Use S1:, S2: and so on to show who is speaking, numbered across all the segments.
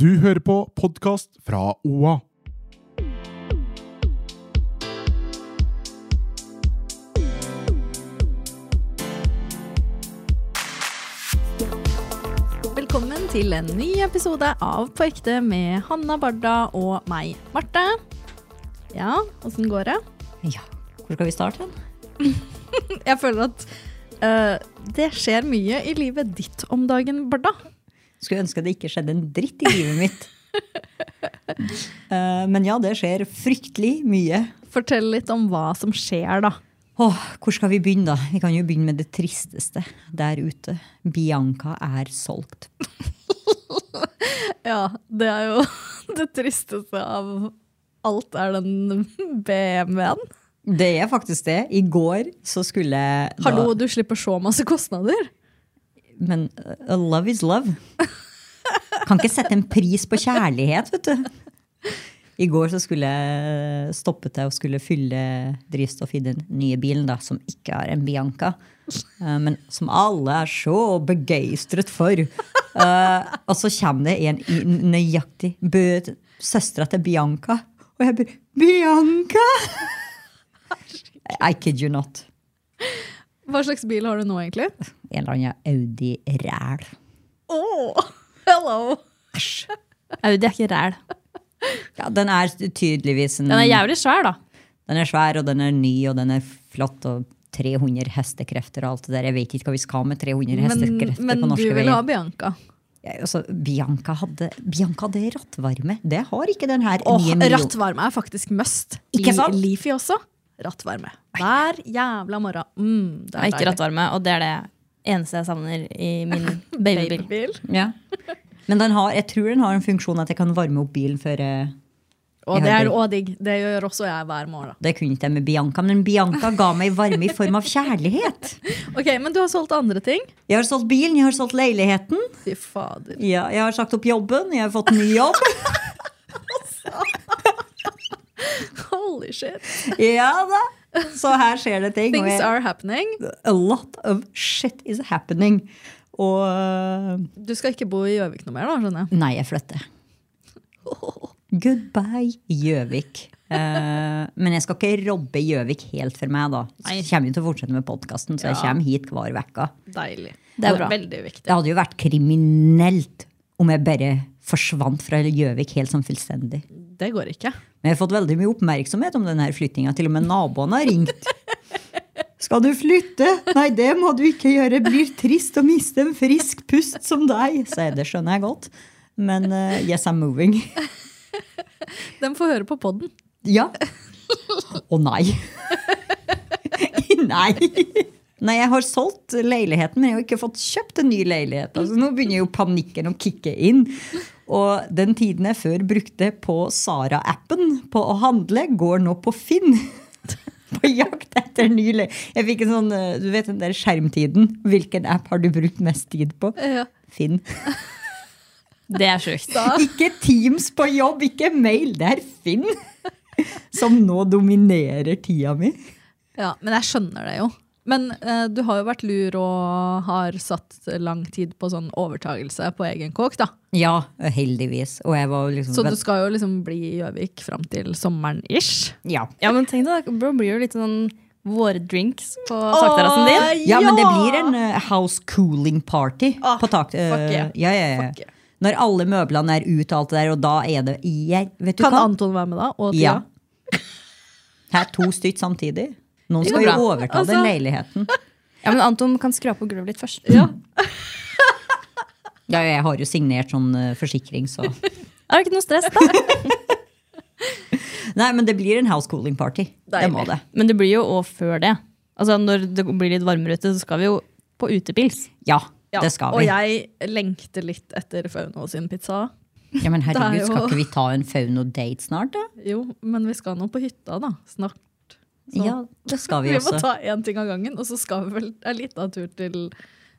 S1: Du hører på podkast fra OA.
S2: Velkommen til en ny episode av På ekte med Hanna Barda og meg, Marte. Ja, åssen går det?
S3: Ja, hvor skal vi starte?
S2: Jeg føler at øh, det skjer mye i livet ditt om dagen, Barda.
S3: Skulle ønske det ikke skjedde en dritt i livet mitt. Eh, Men ja, det skjer fryktelig mye.
S2: Fortell litt om hva som skjer, da.
S3: Åh, hvor skal vi begynne, da? Vi kan jo begynne med det tristeste der ute. Bianca er solgt.
S2: Ja, det er jo det tristeste av alt, er den BMW-en.
S3: Det er faktisk det. I går så skulle jeg da-
S2: Hallo, du slipper så masse kostnader.
S3: Men eh, love is love. Kan ikke sette en pris på kjærlighet, vet du. I går så skulle jeg eh, stoppet jeg og skulle fylle drivstoff i den nye bilen, da, som ikke er en Bianca. eh, Men som alle er så begeistret for. Eh, Og så kommer det en i nøyaktig bød søstera til Bianca. Og jeg bare Bianca! I kid you not.
S2: Hva slags bil har du nå, egentlig?
S3: En eller annen Audi-ræl.
S2: Å, hello!
S3: Æsj.
S2: Audi er ikke ræl.
S3: Ja, den er tydeligvis en,
S2: Den er jævlig svær, da.
S3: den er svær, og den er ny, og den er flott, og 300 hestekrefter og alt det der. Jeg vet ikke hva vi skal med 300
S2: Men,
S3: hestekrefter
S2: men
S3: på
S2: du
S3: norske
S2: vil ha
S3: veier.
S2: Bianca.
S3: Ja, altså, Bianca hadde, Bianca hadde rattvarme. Det har ikke den her.
S2: Og
S3: nye million-
S2: rattvarme er faktisk must.
S3: Ikke
S2: I
S3: sant?
S2: Leafy også. Rattvarme. Hver jævla morgen. Mm, det
S4: Jeg
S2: er
S4: liker
S2: deilig.
S4: rattvarme, og det er det eneste jeg savner i min babybil.
S2: Babybil.
S3: Ja. Men den har, jeg tror den har en funksjon at jeg kan varme opp bilen før eh,
S2: Og
S3: Jeg
S2: det er
S3: hører.
S2: òg digg. Det gjør også jeg hver morgen.
S3: Det kunne ikke jeg med Bianca, men Bianca ga meg varme i form av kjærlighet.
S2: Ok, Men du har solgt andre ting.
S3: Jeg har solgt bilen, jeg har solgt leiligheten,
S2: Fy fader.
S3: ja, jeg har sagt opp jobben, jeg har fått ny jobb.
S2: Holy shit.
S3: Ja da! Så her skjer det ting. og
S2: Things
S3: jeg-
S2: are happening.
S3: a lot of shit is happening. Og øh,
S2: Du skal ikke bo i Gjøvik noe mer, da, skjønner jeg.
S3: Nei, jeg flytter. Goodbye, Gjøvik. Eh, men jeg skal ikke robbe Gjøvik helt for meg, da. Så Jeg kommer jo til å fortsette med podkasten, så jeg
S2: Ja.
S3: kommer hit hver uke.
S2: Deilig.
S4: Det er bra.
S2: Veldig viktig.
S3: Det hadde jo vært kriminelt om jeg bare forsvant fra Gjøvik helt sånn fullstendig.
S2: Det går ikke.
S3: Men jeg har fått veldig mye oppmerksomhet om denne flyttinga. Til og med naboene har ringt. Skal du flytte? Nei, det må du ikke gjøre. Det blir trist å miste en frisk pust som deg. Så det skjønner jeg godt. Men eh, yes, I'm moving.
S2: Den får høre på poden.
S3: Ja. Å nei. nei. Nei, jeg har solgt leiligheten, men jeg har ikke fått kjøpt en ny leilighet. Altså, nå begynner jo panikken å kicke inn. Og den tiden jeg før brukte på Sara-appen på å handle, går nå på Finn. På jakt etter ny le... Jeg fikk en sånn, eh, du vet den der skjermtiden. Hvilken app har du brukt mest tid på?
S2: Ja.
S3: Finn.
S4: Det er sjukt.
S3: Ikke Teams på jobb, ikke mail. Det er Finn som nå dominerer tida mi.
S2: Ja, men jeg skjønner det jo. Men eh, du har jo vært lur og har satt lang tid på sånn overtagelse på egen kåk, da.
S3: Ja, heldigvis. Og jeg var liksom
S2: Så du skal jo liksom bli i Gjøvik fram til sommeren-ish.
S3: ja.
S4: Ja, men tenk deg, da blir jo litt sånn vårdrinks på takterrassen din.
S3: ja, men det blir en eh, house cooling party
S2: Ah,
S3: på tak. eh,
S2: fuck yeah.
S3: ja, ja, ja.
S2: Fuck yeah.
S3: Når alle møblene er ute og alt det der, og da er det jeg, Vet du
S2: Kan
S3: hva?
S2: Anton være med da? Og Tia?
S3: Ja. Her to stykker samtidig. Noen skal
S4: Jo,
S3: jo
S4: bra.
S3: overta den
S2: Altså-
S3: leiligheten.
S4: Ja, men Anton kan skrape på gulvet litt først.
S3: Ja, jeg har jo signert sånn eh, forsikring, så
S4: Er det ikke noe stress, da?
S3: Nei, men det blir en house cooling party. Det må
S2: Deilig.
S3: det.
S4: Men det blir jo òg før det. Altså, Når det blir litt varmere ute, så skal vi jo på utepils.
S3: Ja,
S2: Ja,
S3: det skal
S2: Og
S3: vi.
S2: jeg lengter litt etter Fauno sin pizza.
S3: Ja, men herregud,
S2: Det er jo-
S3: skal ikke vi ta en Fauno-date snart, da?
S2: Jo, men vi skal nå på hytta, da. Snart. Så-
S3: Ja, det skal vi
S2: Vi må
S3: også.
S2: ta én ting av gangen, og så skal vi vel en liten tur til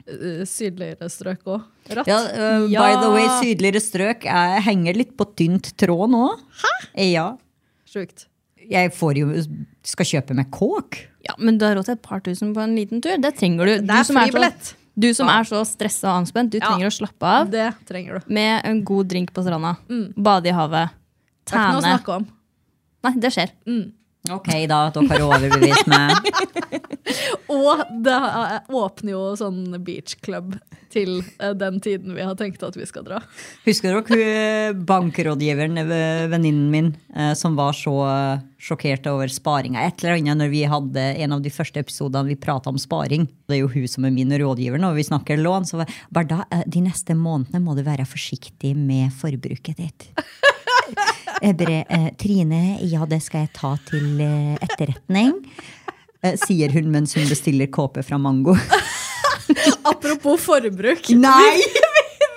S2: eh, sydligere strøk òg. Ratt.
S3: Ja, uh, By the way, sydligere strøk jeg henger litt på tynt tråd nå. Hæ? Ja.
S2: Sjukt.
S3: Jeg får jo skal kjøpe meg kåk.
S4: Ja, Men du har råd til et par tusen på en liten tur. Det trenger du.
S2: Det
S4: du
S2: er
S4: som så-
S2: fribillett.
S4: Du som er så stressa og anspent, du
S2: Ja.
S4: trenger å slappe av
S2: Det trenger du.
S4: med en god drink på stranda.
S2: Mm.
S4: Bade i havet.
S2: Det er ikke noe å
S4: Tæne.
S2: snakke om.
S4: Nei, det skjer.
S2: Mm.
S3: Ok, da. Dere har overbevist meg.
S2: Og det eh, åpner jo sånn beach club til eh, den tiden vi har tenkt at vi skal dra.
S3: Husker dere hun eh, bankrådgiveren, eh, venninnen min, eh, som var så eh, sjokkert over sparinga? Et eller annet når vi hadde en av de første episodene vi prata om sparing. Det er jo hun som er min rådgiver når vi snakker lån. Så var- bare da, eh, de neste månedene må du være forsiktig med forbruket ditt. Jeg bare, eh, Trine, ja, det skal jeg ta til eh, etterretning. eh, Sier hun mens hun bestiller kåpe fra Mango.
S2: Apropos forbruk.
S3: Nei!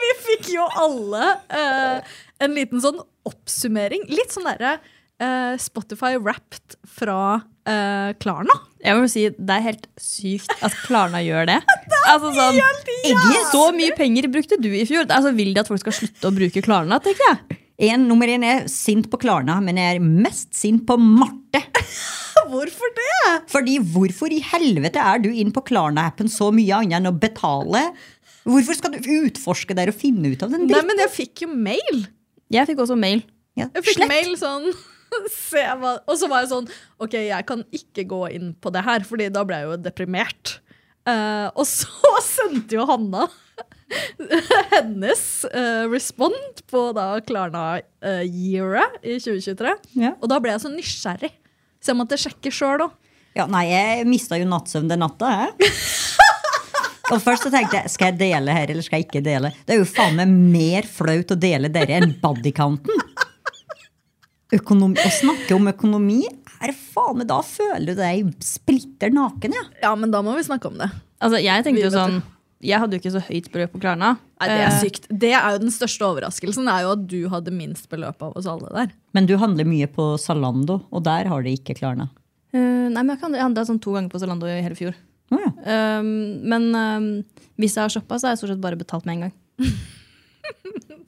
S2: Vi fikk jo alle eh, en liten sånn oppsummering. Litt sånn derre eh, Spotify Wrapped fra eh, Klarna.
S4: Jeg må si, Det er helt sykt at Klarna gjør det. Altså sånn,
S3: jævlig!
S4: Så mye penger brukte du i fjor. Altså, Vil de at folk skal slutte å bruke Klarna? tenker jeg.
S3: En, nummer én er sint på Klarna, men jeg er mest sint på Marte.
S2: Hvorfor det?
S3: Fordi hvorfor i helvete er du inn på Klarna-appen så mye annet enn å betale? Hvorfor skal du utforske der og finne ut av den
S2: Nei,
S3: dritten?
S2: men jeg fikk jo mail.
S4: Jeg fikk også mail.
S3: Ja,
S2: Jeg fikk
S3: slett.
S2: mail sånn se hva, Og så var jeg sånn OK, jeg kan ikke gå inn på det her, Fordi da ble jeg jo deprimert. Eh, og så sendte jo Hanna hennes eh, respond på da Klarna-yearet i 2023.
S3: Ja.
S2: Og da ble jeg så nysgjerrig, så jeg måtte sjekke sjøl òg.
S3: Ja, nei, jeg mista jo nattsøvn den natta, jeg. Og først så tenkte jeg skal jeg dele her eller skal jeg ikke dele. Det er jo faen meg mer flaut å dele dere enn bodycounten. Økonomi, å snakke om økonomi er faen meg Da føler du deg splitter naken, ja.
S2: Ja, men da må vi snakke om det.
S4: Altså, Jeg
S2: Vi
S4: tenkte jo
S2: vet
S4: sånn, jeg hadde jo ikke så høyt beløp på Klarna.
S2: Nei, Det er
S4: Eh,
S2: sykt. Det er jo den største overraskelsen, er jo at du hadde minst beløp av oss alle der.
S3: Men du handler mye på Zalando, og der har de ikke Klarna.
S4: eh, nei, men Jeg kan- jeg handla sånn to ganger på Zalando i hele fjor.
S3: Å ja.
S4: Um, men um, hvis jeg har shoppa, så har jeg stort sett bare betalt med en gang.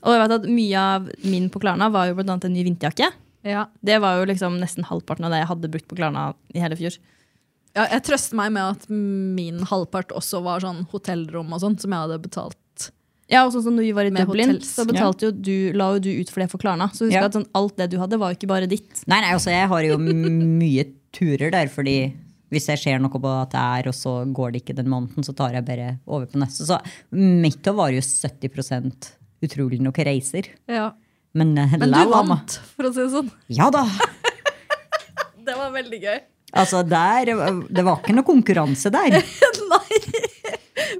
S4: og jeg vet at mye av min på Klarna var jo blant annet en ny vinterjakke.
S2: Ja.
S4: Det var jo liksom nesten halvparten av det jeg hadde brukt på Klarna i hele fjor.
S2: Ja, jeg trøster meg med at min halvpart også var sånn hotellrom og sånn, som jeg hadde betalt.
S4: Ja, og sånn som når vi var i
S2: Med
S4: Dublin,
S2: hotels.
S4: så betalte jo du, la jo du ut for det for Klarna. Så husk
S3: Ja.
S4: at sånn, alt det du hadde, var jo ikke bare ditt.
S3: Nei, nei, altså jeg har jo mye turer der, fordi hvis jeg ser noe på at det er, og så går det ikke den måneden, så tar jeg bare over på neste. Så netto var jo 70 utrolig nok reiser. Men, eh,
S2: Men
S3: la,
S2: du
S3: la, ma.
S2: vant, for å si det sånn.
S3: Ja da!
S2: Det var veldig gøy.
S3: Altså der, eh, det var ikke noe konkurranse der.
S2: Nei!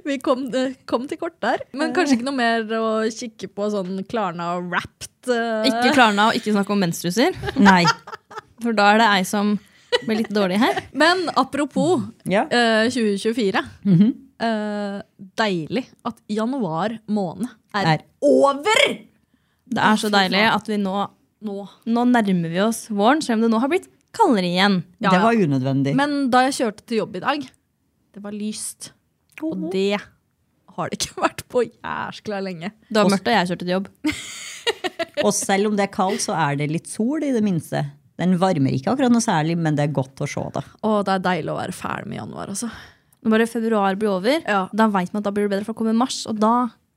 S2: Vi kom, eh, kom til kort der. Men kanskje ikke noe mer å kikke på sånn Klarna wrapped eh,
S4: Ikke Klarna, og ikke snakk om menstruser.
S3: Nei.
S4: For da er det ei som blir litt dårlig her.
S2: Men apropos
S3: Ja.
S2: eh, 2024. eh, deilig at januar måned er,
S3: Er.
S2: over
S4: Det er så deilig at vi nå,
S2: nå.
S4: nå nærmer vi oss våren, selv om det nå har blitt kaldere igjen.
S2: Ja,
S3: Det
S2: ja.
S3: var unødvendig.
S2: Men da jeg kjørte til jobb i dag, det var lyst. Og det har det ikke vært på jæskla lenge.
S4: Det var mørkt da jeg kjørte til jobb.
S3: Og selv om det er kaldt, så er det litt sol i det minste. Den varmer ikke akkurat noe særlig, men det er godt å se det.
S2: Å, det er deilig å være ferdig med januar, altså.
S4: Når bare februar blir over,
S2: Ja.
S4: da vet man at da blir det bedre, for da kommer mars, og da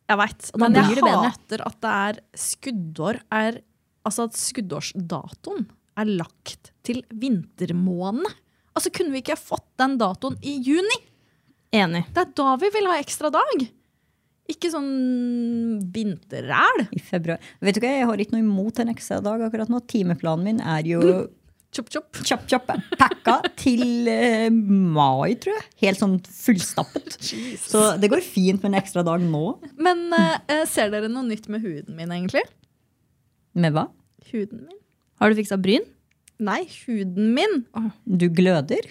S2: Jeg veit.
S4: Og da
S2: Men
S4: blir
S2: jeg
S4: det bedre.
S2: hater at det er skuddår er Altså at skuddårsdatoen er lagt til vintermånedene. Altså, kunne vi ikke fått den datoen i juni?
S4: Enig.
S2: Det er da vi vil ha ekstra dag. Ikke sånn vinterræl.
S3: I februar. Vet du hva, jeg har ikke noe imot en ekstra dag akkurat nå. Timeplanen min er jo
S2: Chop, chop.
S3: kjapp, kjapp pakka til eh, mai, tror jeg. Helt sånn fullstappet. Så det går fint med en ekstra dag nå.
S2: Men eh, eh, ser dere noe nytt med huden min, egentlig?
S3: Med hva?
S2: Huden min?
S4: Har du fiksa bryn?
S2: Nei, huden min.
S3: Du gløder.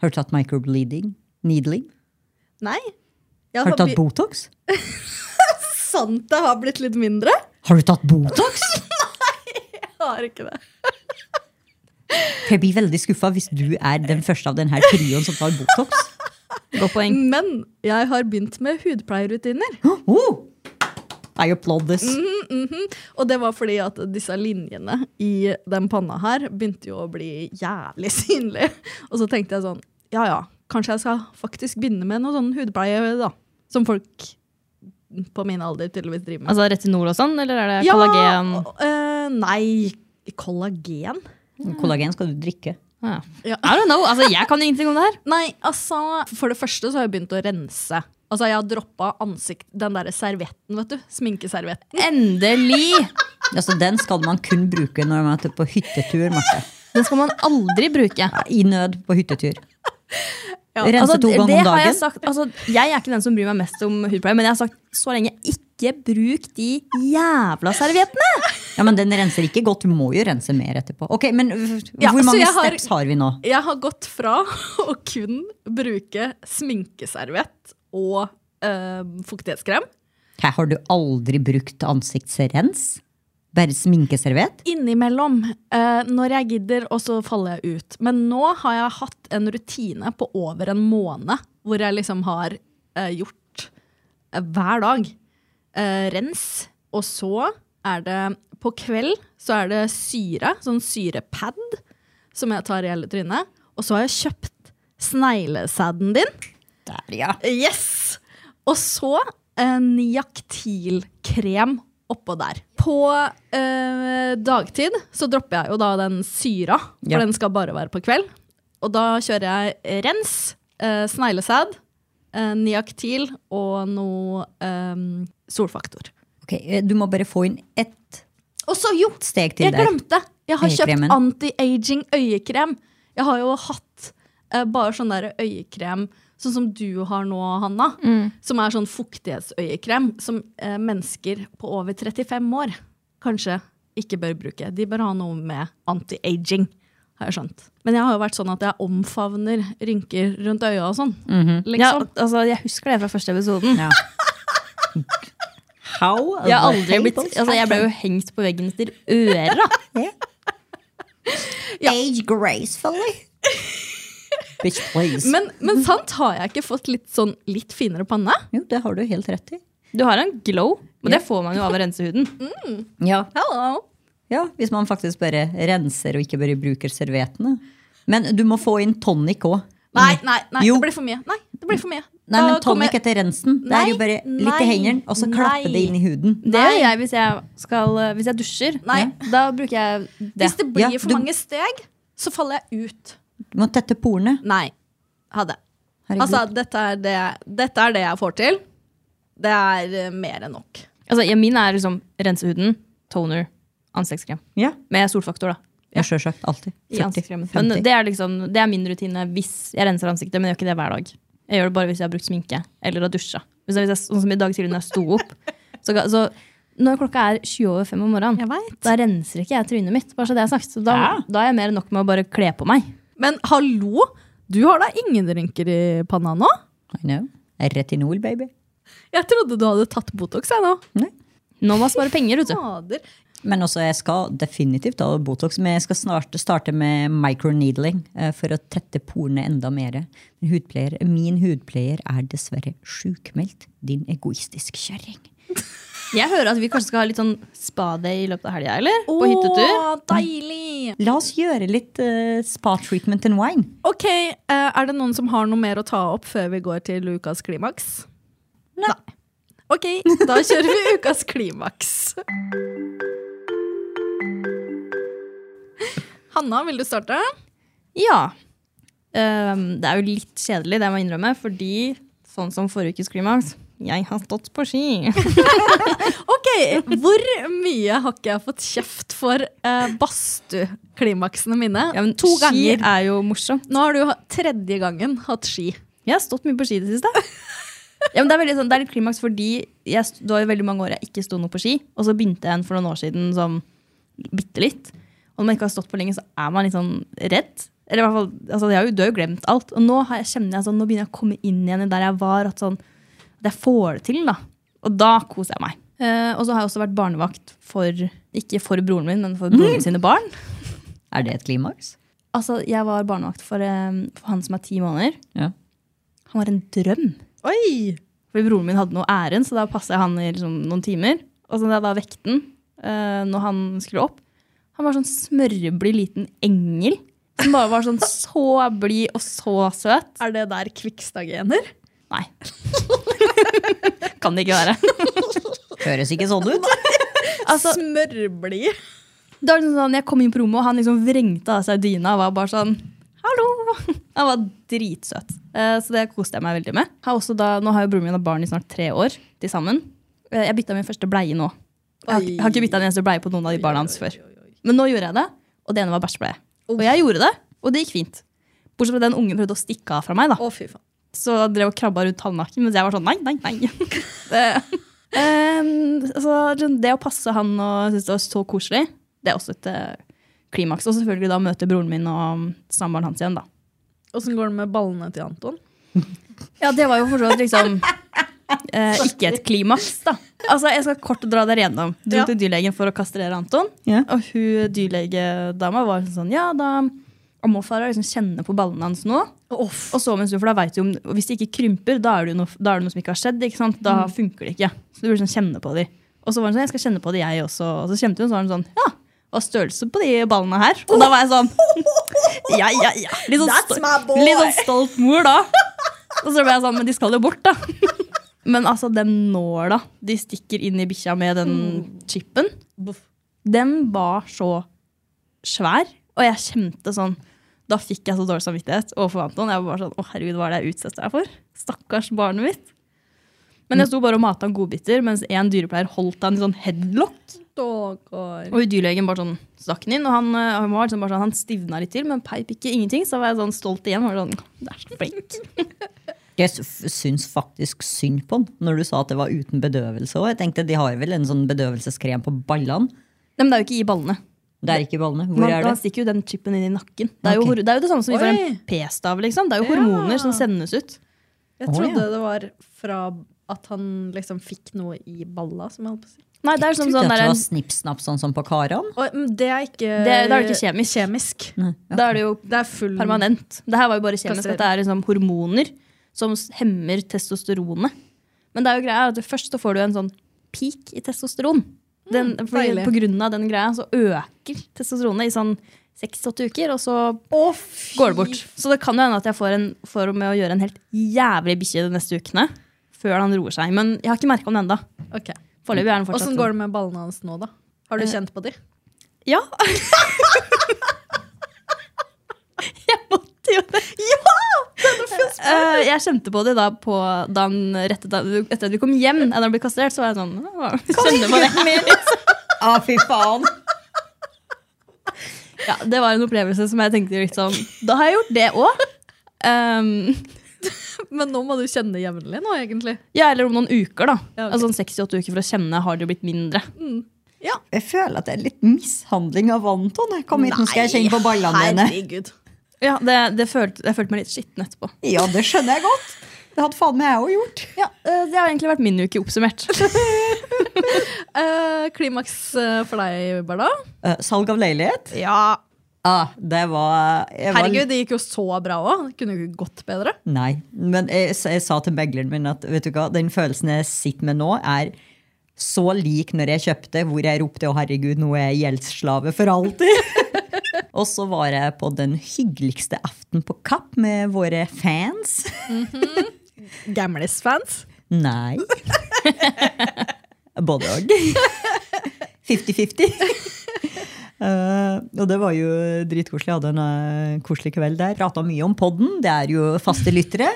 S3: Har du tatt microbleeding? Needling?
S2: Nei. Jeg
S3: Har
S2: har
S3: du tatt
S2: blitt,
S3: Botox?
S2: sant det har blitt litt mindre.
S3: Har du tatt Botox?
S2: Jeg har ikke det.
S3: For jeg blir veldig skuffa hvis du er den første av denne trioen som tar Botox.
S4: Godt poeng.
S2: Men jeg har begynt med hudpleierrutiner.
S3: Oh! I applaud this.
S2: Mhm. Og det var fordi at disse linjene i den panna her begynte jo å bli jævlig synlige. Og så tenkte jeg sånn, ja ja, kanskje jeg skal faktisk begynne med noe sånn hudpleie da. Som folk på min alder tydeligvis driver med.
S4: Altså retinol og sånn, eller er det kollagen?
S2: og- eh, nei, kollagen?
S3: Kollagen skal du drikke.
S4: Ja.
S2: Ja.
S4: I don't know. Altså, jeg kan ingenting om det her.
S2: Nei, altså, for det første så har jeg begynt å rense. Altså, jeg har droppa ansikt, den derre servietten, vet du. Sminkeservietten.
S4: Endelig!
S3: Altså, den skal man kun bruke når man er på hyttetur. Marte.
S4: Den skal man aldri bruke.
S3: I nød på hyttetur. Rense
S4: Altså,
S3: to ganger om
S4: det har jeg,
S3: dagen.
S4: sagt, altså, jeg er ikke den som bryr meg mest om hudpleie, men jeg har sagt så lenge ikke bruk de jævla serviettene!
S3: Ja, Men den renser ikke godt. Du må jo rense mer etterpå. Ok, men f-
S2: Ja,
S3: Hvor
S2: så
S3: mange
S2: jeg har-
S3: steps har vi nå?
S2: Jeg har gått fra å kun bruke sminkeserviett og eh, fuktighetskrem
S3: Hæ, har du aldri brukt ansiktsrens? Bare sminkeserviett?
S2: innimellom eh, når jeg gidder, og så faller jeg ut. Men nå har jeg hatt en rutine på over en måned hvor jeg liksom har eh, gjort eh, hver dag eh, rens. Og så er det på kveld så er det syre, sånn syrepad som jeg tar i hele trynet. Og så har jeg kjøpt sneglesadden din.
S3: Der, ja.
S2: Yes! Og så en jaktilkrem oppå der. På eh, dagtid så dropper jeg jo da den syra, for
S3: Ja.
S2: den skal bare være på kveld. Og da kjører jeg rens, eh, sneglesæd, eh, niaktil og noe eh, solfaktor.
S3: Ok, eh, Du må bare få inn ett
S2: Og så, jo,
S3: steg til
S2: jeg
S3: der.
S2: glemte! Jeg har
S3: Øyekremen.
S2: kjøpt anti-aging øyekrem. Jeg har jo hatt eh, bare sånn der øyekrem, sånn som du har nå, Hanna. Som er sånn fuktighetsøyekrem som eh, mennesker på over 35 år kanskje ikke bør bruke. De bør ha noe med anti-aging, har jeg skjønt. Men jeg har jo vært sånn at jeg omfavner rynker rundt øya og sånn.
S4: Ja,
S2: Liksom.
S4: altså, jeg husker det fra første episoden.
S3: Ja. How?
S4: Jeg, har aldri blitt, altså, jeg ble jo hengt på veggen etter øra.
S3: Age gracefully. Bitch, please.
S2: Men, men sant, har jeg ikke fått litt sånn litt finere panne?
S3: jo, det har du helt rett i.
S4: Du har en glow, og det får man jo av å rense huden.
S3: Ja.
S2: Hello!
S3: ja, Hvis man faktisk bare renser og ikke bare bruker serviettene. Men du må få inn tonic òg.
S2: Nei, nei, nei
S3: Jo.
S2: det blir for mye. Nei, det blir for mye. Da
S3: Nei, men
S2: kommer-
S3: tonic etter rensen. Det er jo
S2: Nei,
S3: bare litt i
S2: nei,
S3: hendene, og så klappe
S2: nei.
S3: det inn i huden.
S4: Det gjør jeg hvis jeg, skal, eh, hvis jeg dusjer.
S2: Nei.
S4: Da bruker jeg det.
S2: Hvis det blir
S3: Ja,
S2: for
S3: du-
S2: mange steg, så faller jeg ut.
S3: Du må tette porene.
S2: Nei. Ha det.
S3: Herregud.
S2: Altså, dette er det, dette er det jeg får til. Det er eh, mer enn nok.
S4: Altså, ja, min er liksom rense huden, toner, ansiktskrem.
S3: ja,
S4: Med solfaktor, da.
S3: ja, sjølsagt. Alltid.
S4: I
S3: 40,
S4: ansiktskremen.
S3: 50.
S4: Men det er, liksom, det er min rutine hvis jeg renser ansiktet, men jeg gjør ikke det hver dag. Jeg gjør det bare hvis jeg har brukt sminke eller har dusja. Hvis jeg, hvis jeg, sånn som i dag tidlig når jeg sto opp. Så, ga- så når klokka er 20 over fem om morgenen, da renser ikke jeg trynet mitt. Bare så det er sagt. Så da, da er jeg mer enn nok med å bare kle på meg.
S2: Men hallo, du har da ingen rynker i panna nå?
S3: I know. Retinol, baby.
S2: Jeg trodde du hadde tatt Botox, jeg nå.
S3: Nei.
S4: Nå må jeg spare penger, vet du.
S2: Fader.
S3: Men også, jeg skal definitivt ha Botox, men jeg skal snart starte med microneedling eh, for å tette porene enda mer. Men Hudpleier, min hudpleier er dessverre sjukmeldt, din egoistisk kjerring.
S4: Jeg hører at vi kanskje skal ha litt sånn spaday i løpet av helga, eller? På hyttetur.
S2: Å, deilig!
S3: La oss gjøre litt eh, spa treatment and wine.
S2: Ok, eh, er det noen som har noe mer å ta opp før vi går til ukas klimaks? Nei. Ok, da kjører vi ukas klimaks. Hanna, vil du starte?
S4: Ja. Ehm, det er jo litt kjedelig, det jeg må innrømme, fordi sånn som forrige ukes klimaks, jeg har stått på ski.
S2: Ok, hvor mye har ikke jeg fått kjeft for eh, badstu-klimaksene mine?
S4: Ja, men
S2: to
S4: ski
S2: ganger.
S4: er jo morsomt.
S2: Nå har du ha- tredje gangen hatt ski.
S4: Jeg har stått mye på ski i det siste. ja, men det, er veldig, sånn, det er litt klimaks fordi jeg, st- det var jo veldig mange år jeg ikke sto noe på ski. Og så begynte jeg en for noen år siden som bitte litt. Og når man ikke har stått på lenge, så er man litt sånn redd. Eller i hvert fall, altså, jeg har jo, Du har jo glemt alt. Og nå har jeg, kjenner jeg sånn, nå begynner jeg å komme inn igjen i der jeg var. At, sånn, at jeg får det til, da. Og da koser jeg meg. Eh, og så har jeg også vært barnevakt for, ikke for broren min, men for broren sine barn.
S3: Er det et klimaks?
S4: Altså, jeg var barnevakt for, eh, for han som er ti måneder.
S3: Ja.
S4: Han var en drøm.
S2: Oi!
S4: Fordi broren min hadde noe ærend, så da passa jeg han i liksom, noen timer. Og så da jeg da vekte han eh, når han skulle opp, han var sånn smørblid liten engel. Som bare var sånn så blid og så søt.
S2: Er det der Kvikstad-gener?
S4: Nei. kan det ikke være.
S3: Høres ikke sånn ut.
S4: Altså,
S2: Smørblid.
S4: det var liksom sånn, jeg kom inn på rommet, og han liksom vrengte av seg dyna og var bare sånn Hallo! Han var dritsøt. Eh, Så det koste jeg meg veldig med. Har også da, nå har jo broren min og barn i snart tre år til sammen. Eh, Jeg bytta min første bleie nå. Jeg har, ikke- jeg har ikke bytta en eneste bleie på noen av de barna hans før. Men nå gjorde jeg det, og det ene var bæsjbleie. Og jeg gjorde det, og det gikk fint. Bortsett fra den ungen prøvde å stikke av fra meg. da.
S2: Å, fy faen.
S4: Så han drev og krabba rundt halvnaken, mens jeg var sånn nei, nei, nei. det, Em, så sånn, det å passe han og synes det var så koselig, det er også et eh, klimaks. Og selvfølgelig da møte broren min og samboeren hans igjen, da.
S2: Åssen går det med ballene til Anton?
S4: Ja, det var jo for så vidt liksom eh, ikke et klimaks, da. Altså, Jeg skal kort dra dere gjennom. Du
S2: Ja.
S4: gikk til dyrlegen for å kastrere Anton.
S3: Ja.
S4: Og hun dyrlegedama var sånn ja, da Og må far liksom kjenne på ballene hans nå. Og så om en stund, for da vet du om, og Hvis de ikke krymper, da er det jo noe, da er det noe som ikke har skjedd. ikke sant? Da funker det ikke. Så du burde sånn kjenne på de. Og så var hun sånn, jeg skal kjenne på de jeg også. Og så kjente hun så var hun sånn, ja, hva er størrelsen på de ballene her? Og da var jeg sånn, ja, ja, ja. Litt sånn,
S2: That's my boy.
S4: litt sånn stolt mor da. Og så ble jeg sånn, men de skal jo bort da. Men altså, den nåla de stikker inn i bikkja med den
S2: Mm.
S4: chipen, den var så svær. Og jeg kjente sånn Da fikk jeg så dårlig samvittighet overfor Anton. Jeg var bare sånn, å herregud, hva er det jeg utsetter deg for? Stakkars barnet mitt. Men
S2: Mm.
S4: jeg sto bare og mata han godbiter, mens en dyrepleier holdt han i sånn headlock.
S2: Stakkar.
S4: Og dyrlegen bare sånn stakk den inn, og han, øh, han var liksom bare sånn, han stivna litt til, men peip ikke ingenting. Så var jeg sånn stolt igjen. Var sånn, du er så flink.
S3: Jeg s- syns faktisk synd på den når du sa at det var uten bedøvelse òg. Jeg tenkte de har vel en sånn bedøvelseskrem på ballene.
S4: Nei, men det er jo ikke i ballene.
S3: Det er ikke i ballene. Hvor
S4: Man,
S3: er
S4: man
S3: det?
S4: stikker jo den chipen inn i nakken. Det er, jo,
S3: Ok.
S4: hor- det er jo det samme som vi får en
S2: Oi.
S4: p-stav. liksom. Det er jo
S2: Ja.
S4: hormoner som sendes ut.
S2: Jeg
S3: Å,
S2: trodde
S3: ja.
S2: det var fra at han liksom fikk noe i balla, som jeg holdt på å si.
S4: Nei, det er
S3: Trodde
S4: sånn, sånn
S3: at det
S4: der,
S3: var snipp-snapp sånn som på karene.
S2: Og, men det er ikke
S4: Det- da er det ikke kjemisk.
S3: Nei, ja.
S4: Da er det jo
S2: Det er full
S4: permanent. Det her var jo bare kjemisk.
S2: Kastrering.
S4: At det er liksom hormoner som s- hemmer testosteronet. Men det er jo greia er at du først så får du en sånn peak i testosteron. Den,
S2: Mm,
S4: fordi,
S2: deilig.
S4: på grunn av den greia så øker testosteronet i sånn 6-8 uker, og så
S2: Å, fy
S4: går det bort. Så det kan jo hende at jeg får, en, får med å gjøre en helt jævlig bikkje de neste ukene. Før han roer seg. Men jeg har ikke merka om det ennå.
S2: Ok.
S4: Foreløpig er den fortsatt Eh.
S2: Åssen går det med ballene hans nå, da? Har du kjent på de?
S4: Ja. jeg måtte jo det. Ja! Eh, jeg kjente på det da, på, da han rettet Etter at vi kom hjem, da han ble kastrert, så var jeg sånn «Åh, kjenner på det.
S3: Ah, fy faen!
S4: Ja, det var en opplevelse som jeg tenkte litt sånn Da har jeg gjort det òg.
S2: Men nå må du kjenne jevnlig nå, egentlig.
S4: ja, eller om noen uker, da.
S2: Ja, ok.
S4: Altså sånn 68 uker for å kjenne har det jo blitt mindre.
S3: Jeg føler at det er litt mishandling av Anton. Jeg Kom hit, nå skal jeg kjenne på ballene dine.
S2: Herregud.
S4: Ja, det, det følte, Jeg følte meg litt skitten etterpå.
S3: Ja, det skjønner jeg godt. Det hadde faen meg jeg òg gjort.
S4: Ja, eh, Det har egentlig vært min uke oppsummert.
S2: Eh, klimaks eh, for deg, Barda?
S3: Eh, salg av leilighet?
S2: Ja.
S3: Ah, det var, jeg var
S2: Herregud, det gikk jo så bra òg. Kunne jo ikke gått bedre.
S3: Nei, men jeg, jeg sa til megleren min at vet du hva, den følelsen jeg sitter med nå, er så lik når jeg kjøpte, hvor jeg ropte 'Å, herregud, nå er jeg gjeldsslave for alltid'. og så var jeg på den hyggeligste aften på Kapp med våre fans.
S2: Gamlis-fans.
S3: Nei. Både og. 50-50. Eh, og det var jo dritkoselig. Jeg hadde en eh, koselig kveld der. Prata mye om podden. Det er jo faste lyttere.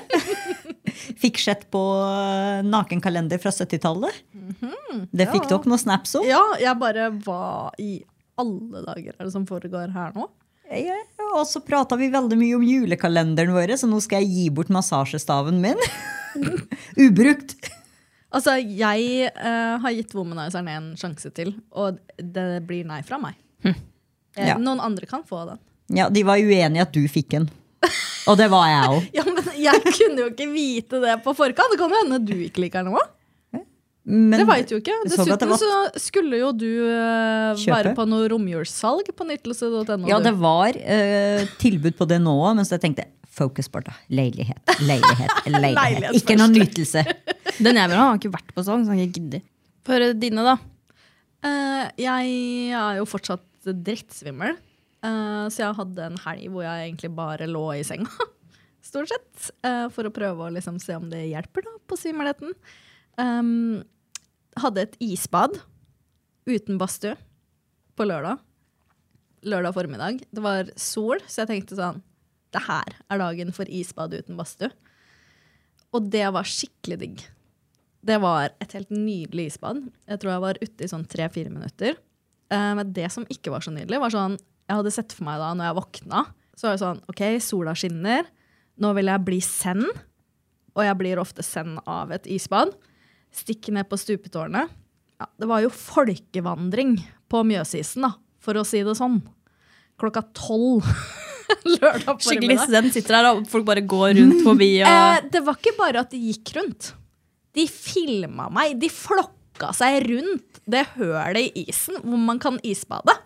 S3: Fikk sett på eh, nakenkalender fra 70-tallet. Det fikk
S2: ja.
S3: dere noen snaps om.
S2: Ja, jeg bare Hva i alle dager er det som foregår her nå?
S3: Ja, Og så prata vi veldig mye om julekalenderen vår, så nå skal jeg gi bort massasjestaven min. Ubrukt.
S2: Altså, jeg eh, har gitt womanizeren en sjanse til, og det blir nei fra meg.
S3: Hm.
S2: Eh,
S3: Ja.
S2: Noen andre kan få den.
S3: Ja, De var uenige i at du fikk den. Og det var jeg òg.
S2: Ja, men Jeg kunne jo ikke vite det på forkant. Det kan jo hende du ikke liker den òg.
S3: Men
S2: Det vvet jo ikke.
S3: du så at det
S2: Dessuten
S3: var-
S2: så skulle jo du eh,
S3: Kjøpe.
S2: være på noe romjulssalg på nytelse.no.
S3: Ja, det
S2: du.
S3: var eh, tilbud på det nå òg, men så jeg tenkte fokus på det. Leilighet, leilighet, leilighet.
S2: Leilighet
S3: Ikke noen nytelse.
S4: Den jeg vil ha, har ikke vært på sånn. så han ikke gidder. For eh, dine, da?
S2: Eh, jeg er jo fortsatt drittsvimmel, eh, så jeg hadde en helg hvor jeg egentlig bare lå i senga, stort sett, eh, for å prøve å liksom se om det hjelper da, på svimmelheten. ehm, hadde et isbad uten badstue på lørdag. Lørdag formiddag. Det var sol, så jeg tenkte sånn Det her er dagen for isbad uten badstue. Og det var skikkelig digg. Det var et helt nydelig isbad. Jeg tror jeg var ute i sånn tre-fire minutter. Eh, Men det som ikke var så nydelig, var sånn Jeg hadde sett for meg da når jeg våkna, så var det sånn OK, sola skinner. Nå vil jeg bli send. Og jeg blir ofte send av et isbad. Stikk ned på stupetårnet. Ja, det var jo folkevandring på Mjøsisen, da, for å si det sånn. Klokka tolv lørdag
S4: Skikkelig
S2: formiddag.
S4: student sitter her, og folk bare går rundt forbi. Og...
S2: Eh, det var ikke bare at de gikk rundt. De filma meg. De flokka seg rundt det hølet i isen hvor man kan isbade.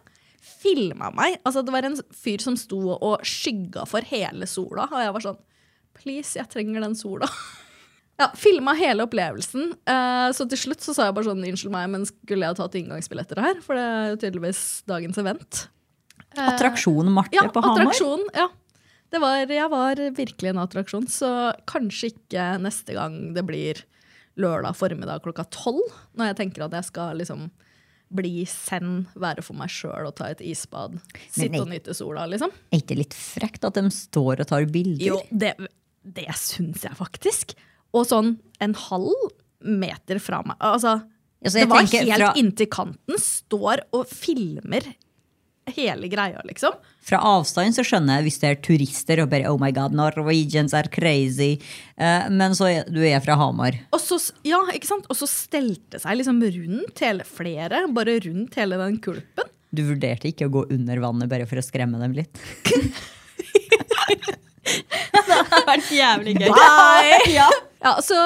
S2: Filma meg. Altså, det var en fyr som sto og skygga for hele sola, og jeg var sånn Please, jeg trenger den sola. Ja, Filma hele opplevelsen. Eh, så til slutt så sa jeg bare sånn Unnskyld meg, men skulle jeg ha tatt inngangsbilletter her? For det er jo tydeligvis dagens event.
S3: Attraksjonen Marte
S2: Ja,
S3: på Hamar.
S2: attraksjon. Ja. Det var, jeg var virkelig en attraksjon, så kanskje ikke neste gang det blir lørdag formiddag klokka tolv, når jeg tenker at jeg skal liksom bli send, være for meg sjøl og ta et isbad. Sitte
S3: nei.
S2: og nyte sola, liksom.
S3: Er ikke det litt frekt at de står og tar bilder?
S2: Jo, det, det syns jeg faktisk. Og sånn en halv meter fra meg Altså,
S3: Altså,
S2: det
S3: jeg
S2: var
S3: tenker
S2: helt
S3: fra-
S2: inntil kanten. Står og filmer hele greia, liksom.
S3: Fra avstand så skjønner jeg hvis det er turister og bare oh my god, Norwegians are crazy. Eh, men så er, du er fra Hamar.
S2: Og så, ja, ikke sant? Og så stelte seg liksom rundt hele flere, bare rundt hele den kulpen.
S3: Du vurderte ikke å gå under vannet bare for å skremme dem litt?
S4: Det har vært jævlig gøy.
S2: ja. ja, så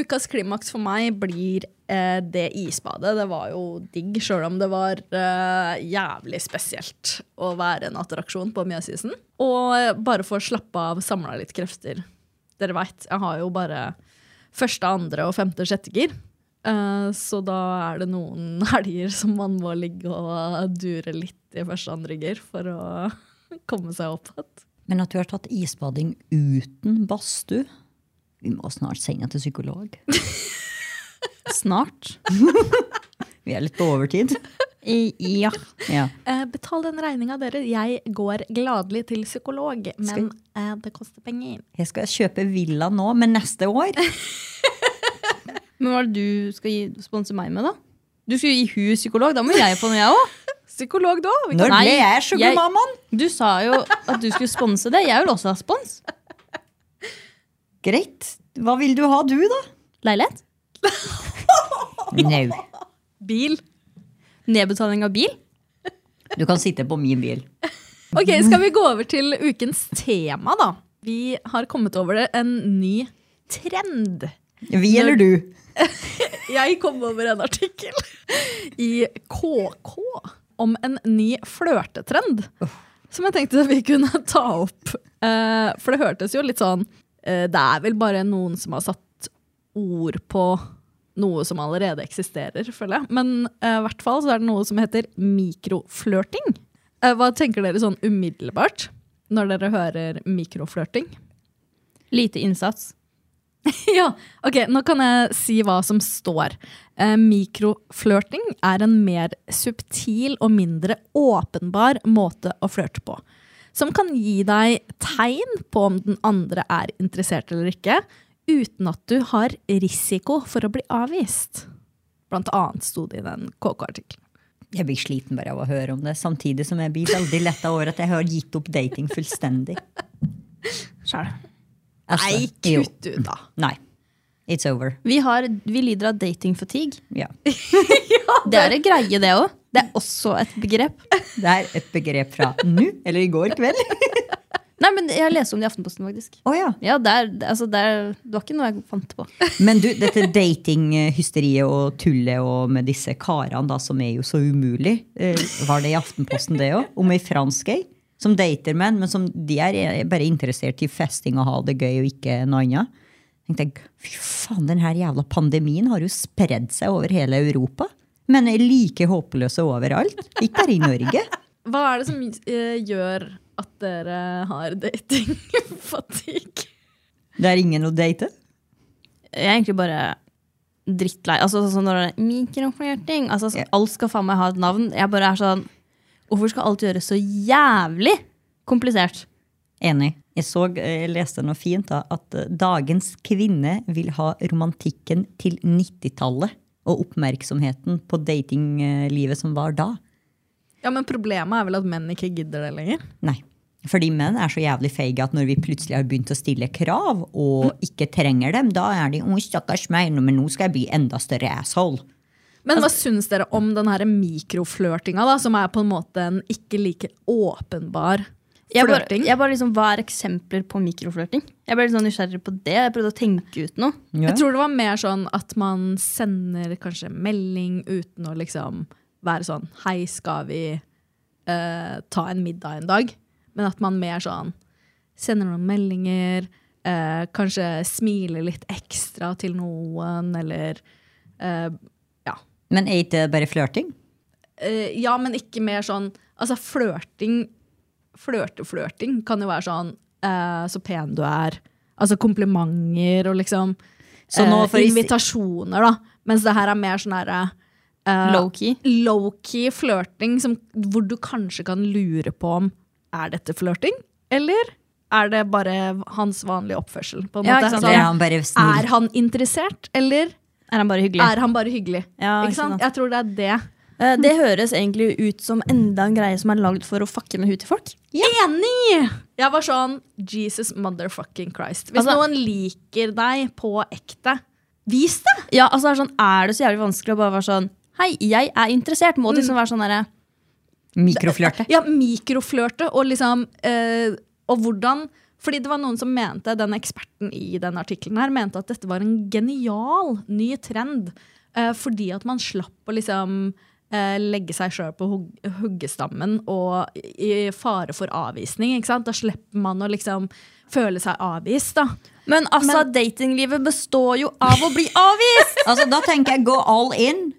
S2: ukas klimaks for meg blir eh, det isbadet. Det var jo digg, sjøl om det var eh, jævlig spesielt å være en attraksjon på Mjøsisen. Og eh, bare for å slappe av, samla litt krefter. Dere veit, jeg har jo bare første, andre og femte, sjette gir. Eh, Så da er det noen helger som man må ligge og dure litt i første, andre gir for å komme seg opp igjen.
S3: Men at du har tatt isbading uten badstue Vi må snart sende deg til psykolog.
S4: Snart.
S3: Vi er litt på overtid.
S4: Ja.
S3: Ja.
S2: Eh, betal den regninga, dere. Jeg går gladelig til psykolog, men
S3: Skal-
S2: eh, det koster penger.
S3: Jeg skal kjøpe villa nå, men neste år?
S4: Men hva er det du skal gi, sponse meg med, da? Du skal jo gi hun psykolog. Da må jeg få noe, jeg òg.
S2: Psykolog da? Vi
S3: Når
S4: Nei,
S3: ble jeg sugarmammaen?
S4: Du sa jo at du skulle sponse det. Jeg vil også ha spons.
S3: Greit. Hva vil du ha, du, da?
S4: Leilighet.
S3: Nei.
S2: kan- Bil.
S4: Nedbetaling av bil.
S3: Du kan sitte på min bil.
S2: Ok, skal vi gå over til ukens tema, da? Vi har kommet over en ny trend.
S3: Vi eller du?
S2: Jeg kom over en artikkel i KK om en ny flørtetrend. Som jeg tenkte vi kunne ta opp. Eh, For det hørtes jo litt sånn eh, Det er vel bare noen som har satt ord på noe som allerede eksisterer, føler jeg. Men eh, i hvert fall så er det noe som heter mikroflørting. Eh, Hva tenker dere sånn umiddelbart når dere hører mikroflørting?
S4: Lite innsats.
S2: Ja, ok, nå kan jeg si hva som står. Eh, mikroflørting er en mer subtil og mindre åpenbar måte å flørte på. Som kan gi deg tegn på om den andre er interessert eller ikke, uten at du har risiko for å bli avvist. Blant annet sto det i den KK-artikkelen.
S3: Jeg blir sliten bare av å høre om det, samtidig som jeg blir veldig letta over at jeg har gitt opp dating fullstendig.
S2: Sjæl.
S3: Altså,
S2: Nei,
S3: jo.
S2: kutt ut, da!
S3: Nei. It's over.
S4: Vi, har, vi lider av datingfatigue.
S3: Ja.
S2: Ah,
S4: Det er en greie, det òg. Det er også et begrep.
S3: Det er et begrep fra nå eller i går kveld.
S4: Nei, men Jeg leste om det i Aftenposten, faktisk.
S3: Å ja.
S4: Ja, det, er, altså, det, er, det var ikke noe jeg fant på.
S3: Men du, dette datinghysteriet og tullet og med disse karene da, som er jo så umulig, eh, var det i Aftenposten det òg? Om ei fransk ei som dater menn, men som de er er bare interessert i festing og ha det gøy og ikke noe annet. Tenkte jeg, Fy faen, den her jævla pandemien har jo spredd seg over hele Europa. Men er like håpløse overalt. Ikke bare i Norge.
S2: Hva er det som eh, gjør at dere har datingfatigue?
S3: Det er ingen å date.
S4: Jeg er egentlig bare drittlei. Altså sånn som når det er mikroflørting. Altså, sånn,
S3: Ja.
S4: Alt skal faen meg ha et navn. Jeg bare er sånn Hvorfor skal alt gjøres så jævlig komplisert?
S3: Enig. Jeg så, eh, jeg leste noe fint da, at eh, dagens kvinne vil ha romantikken til 90-tallet og oppmerksomheten på datinglivet som var da.
S2: Ja, men problemet er vel at menn ikke gidder det lenger.
S3: Nei. Fordi menn er så jævlig feige at når vi plutselig har begynt å stille krav
S2: Mm.
S3: og ikke trenger dem, da er de 'Å, stakkars meg, nå- men nå skal jeg bli enda større asshole'.
S2: Men hva syns dere om den her mikroflørtinga, da, som er på en måte en ikke like åpenbar
S4: Jeg bare,
S2: flørting?
S4: jeg bare liksom, Hva er eksempler på mikroflørting? Jeg ble litt sånn nysgjerrig på det. Jeg prøvde å tenke ut noe.
S3: Ja.
S2: Jeg tror det var mer sånn at man sender kanskje melding uten å liksom være sånn Hei, skal vi eh, ta en middag en dag? Men at man mer sånn sender noen meldinger, eh, kanskje smiler litt ekstra til noen, eller eh, ja.
S3: Men er ikke det bare flørting?
S2: Eh, ja, men ikke mer sånn Altså, flørting Flørte-flørting kan jo være sånn eh, Så pen du er. Altså komplimenter og liksom
S3: Så nå
S2: eh,
S3: for is-
S2: Invitasjoner, da. Mens det her er mer sånn herre
S4: Low-key.
S2: low-key flørting som, hvor du kanskje kan lure på om er dette flørting, eller er det bare hans vanlige oppførsel? På en
S4: Ja,
S2: måte?
S4: ikke sant?
S2: Sånn,
S3: Eller er han bare snill?
S2: er han interessert, eller
S4: Er han bare hyggelig?
S2: er han bare hyggelig?
S4: Ja, ikke
S2: ikke sant?
S4: sant.
S2: Jeg tror det er det.
S4: Eh, Det høres egentlig ut som enda en greie som er lagd for å fucke med huet til folk.
S2: Enig! Jeg var sånn Jesus motherfucking Christ. Hvis
S4: Altså-
S2: noen liker deg på ekte, vis det!
S4: Ja, altså Er, det sånn, er det så jævlig vanskelig å bare være sånn Hei, jeg er interessert. Må det liksom være sånn derre
S3: Mikroflørte.
S2: Ja, mikroflørte og liksom eh, Og hvordan Fordi det var noen som mente, den eksperten i den artikkelen her, mente at dette var en genial ny trend. eh, fordi at man slapp å liksom eh, legge seg sjøl på hug huggestammen og i i fare for avvisning. ikke sant? Da slipper man å liksom føle seg avvist, da.
S4: Men altså, datinglivet består jo av å bli avvist!
S3: Altså, da tenker jeg gå all in.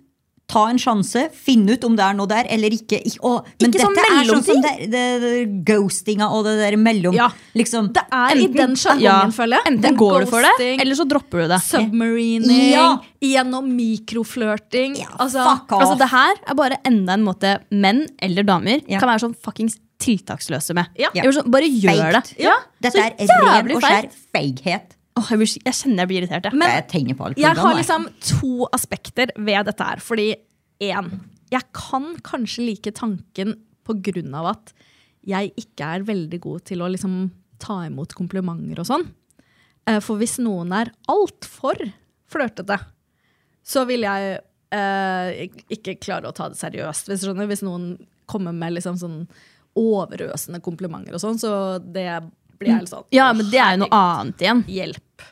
S3: Ta en sjanse, finn ut om det er noe der eller ikke. Ik å, men
S4: Ikke
S3: dette
S4: sånn
S3: er sånn som
S4: mellomting.
S3: det, det, det ghostinga og det der mellom.
S2: Ja.
S3: Liksom,
S2: Det er i den sjargongen, føler jeg.
S4: Enten går du for det,
S2: Ghosting,
S4: eller så dropper du det.
S2: submarining,
S3: Ja.
S2: gjennom mikroflørting.
S3: Ja,
S2: altså,
S3: fuck off.
S4: Altså, Det her er bare enda en måte menn eller damer
S3: Ja.
S4: kan være sånn fuckings tiltaksløse med.
S2: Ja.
S4: Jeg blir sånn, bare gjør
S3: Feigt.
S4: det. Ja.
S3: Dette
S4: så
S3: er ren
S4: jævlig
S3: og skjær feighet.
S4: Åh, jeg, blir, jeg kjenner jeg blir irritert. Jeg.
S2: Men-
S3: jeg tenker på alt.
S2: Jeg
S3: hvordan
S2: har
S3: det er.
S2: liksom to aspekter ved dette her. Fordi én, jeg kan kanskje like tanken på grunn av at jeg ikke er veldig god til å liksom ta imot komplimenter og sånn. Eh, For hvis noen er altfor flørtete, så vil jeg eh, ikke klare å ta det seriøst. Hvis, du skjønner. hvis noen kommer med liksom sånn overøsende komplimenter og sånn, så det blir jeg litt sånn
S4: Ja, men det er jo noe annet igjen.
S2: Hjelp.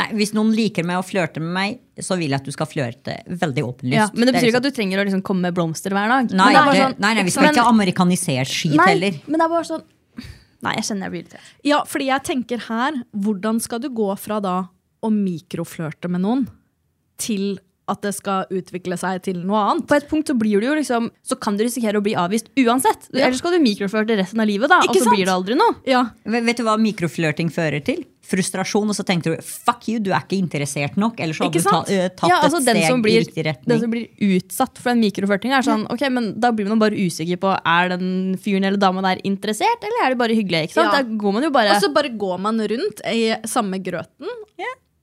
S3: Nei, Hvis noen liker meg og flørter med meg, så vil jeg at du skal flørte veldig åpenlyst.
S4: Ja, men det betyr
S3: er
S4: ikke at
S3: liksom-
S4: du trenger å liksom komme med blomster hver
S3: Nei,
S4: dag. men det er bare
S3: det,
S4: sånn-
S3: nei, nei, vi skal
S4: Men-
S3: ikke amerikanisere skit
S4: Nei,
S3: heller.
S4: men det er bare sånn Nei, jeg kjenner jeg blir irritert.
S2: Ja, fordi jeg tenker her, hvordan skal du gå fra da å mikroflørte med noen, til at det skal utvikle seg til noe annet?
S4: På et punkt så blir du jo liksom Så kan du risikere å bli avvist uansett.
S2: Ja.
S4: Ellers skal du mikroføre til resten av livet, da, og
S2: Ikke
S4: så
S2: sant?
S4: blir det aldri noe.
S2: Ja,
S3: Vet vet du hva mikroflørting fører til? Frustrasjon, og så tenker du fuck you, du er ikke interessert nok. Eller så hadde
S2: Ikke
S3: du ta,
S2: sant?
S3: eh, tatt
S4: ja, altså,
S3: et
S4: den
S3: steg
S4: som blir,
S3: i riktig
S4: Den
S3: retning.
S4: som blir utsatt for den mikroflørtinga, er sånn, ok, men da blir man bare usikker på er den fyren eller dama der interessert, eller er de bare hyggelige? ikke sant?
S2: Ja.
S4: Da går man jo bare
S2: Og så bare går man rundt i samme grøten,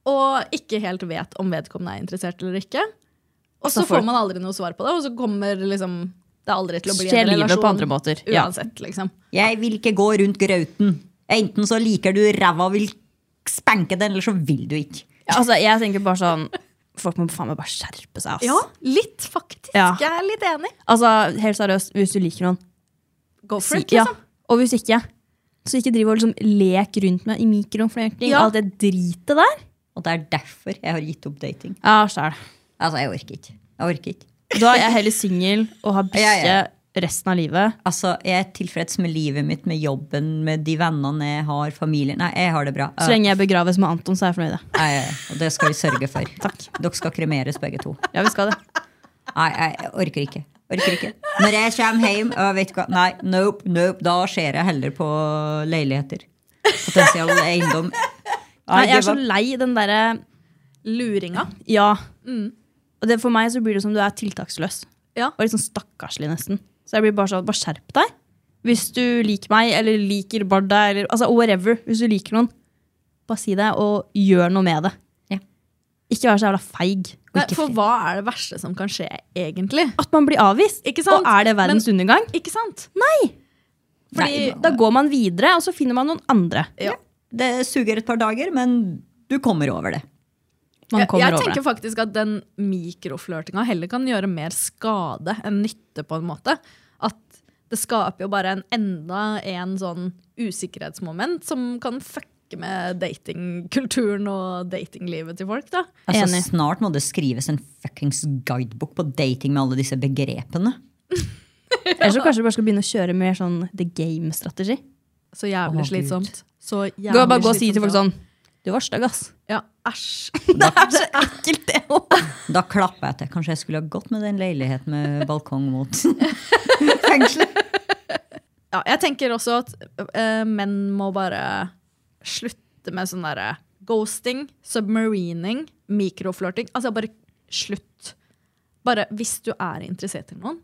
S2: og ikke helt vet om vedkommende er interessert eller ikke. Og så
S4: Så får-
S2: får man aldri noe svar på det, og så kommer liksom det er aldri til å bli
S4: Skjer
S2: en
S4: livet
S2: relasjon.
S4: på andre måter, ja.
S2: Uansett, liksom.
S3: Jeg vil ikke gå rundt grauten. Enten så liker du ræva og vil spanke den, eller så vil du ikke.
S4: Ja, Altså, Jeg tenker bare sånn Folk må faen meg bare skjerpe seg, ass.
S2: Ja, litt faktisk.
S4: Ja.
S2: Jeg er litt enig.
S4: Altså, Helt seriøst, hvis du liker noen,
S2: Go for
S4: si
S2: it, liksom.
S4: ja. Og hvis ikke, så ikke driv og liksom lek rundt med i mikroflørting.
S2: Ja.
S4: Alt det dritet der.
S3: Og det er derfor jeg har gitt opp dating.
S4: Ja, sjæl.
S3: Altså, jeg orker ikke. Jeg orker ikke.
S4: Da er jeg heller singel og har bikkje
S3: Ja, ja.
S4: resten av livet.
S3: Altså, jeg er tilfreds med livet mitt, med jobben, med de vennene jeg har, familien. Nei, jeg har det bra.
S4: Så lenge jeg begraves med Anton, så er jeg fornøyd. jeg.
S3: Nei, og det skal vi sørge for. Dere skal kremeres begge to.
S4: Ja, vi skal det.
S3: Nei, jeg jeg orker ikke. Orker ikke. Når jeg kommer hjem og vet hva Nei, nope, nope. Da ser jeg heller på leiligheter. Potensial eiendom.
S4: Nei, jeg er så
S3: det var-
S4: eh, lei den derre
S2: Luringa.
S4: Ja.
S2: Mm.
S4: Og det, for meg så blir det som du er tiltaksløs.
S2: Ja.
S4: Og litt sånn stakkarslig, nesten. Så jeg blir bare sånn, bare skjerp deg. Hvis du liker meg, eller liker Barda, eller altså whatever. Hvis du liker noen, bare si det, og gjør noe med det.
S3: Ja.
S4: Ikke vær så jævla feig. og
S2: Nei,
S4: ikke
S2: for
S4: fri-
S2: hva er det verste som kan skje, egentlig?
S4: At man blir avvist.
S2: Ikke sant?
S4: Og er det verdens undergang?
S2: Ikke sant?
S4: Fordi
S2: Nei.
S4: da går man videre, og så finner man noen andre.
S2: Ja.
S3: Det suger et par dager, men du kommer over det.
S4: Man
S2: Jeg,
S4: kommer
S2: jeg
S4: over
S2: tenker
S4: det.
S2: faktisk at den mikroflørtinga heller kan gjøre mer skade enn nytte, på en måte. At det skaper jo bare en enda en sånn usikkerhetsmoment som kan fucke med datingkulturen og datinglivet til folk, da.
S3: Altså,
S4: Enig.
S3: Snart må det skrives en fuckings guidebok på dating med alle disse begrepene.
S4: Eller så kanskje du bare skal begynne å kjøre mer sånn the game-strategi.
S2: Så
S3: Å,
S2: jævlig
S3: Gud.
S2: slitsomt. Så jævlig
S4: Gå, bare gå og si
S2: slitsomt,
S4: til folk
S2: ja.
S4: sånn Du var stygg, ass.
S2: Ja, æsj.
S4: Det er så ekkelt, det òg.
S3: Da klapper jeg til. Kanskje jeg skulle ha gått med den leiligheten med balkong mot fengselet.
S2: ja, jeg tenker også at eh, menn må bare slutte med sånn derre ghosting, submarining, mikroflørting. Altså bare slutt. Bare hvis du er interessert i noen,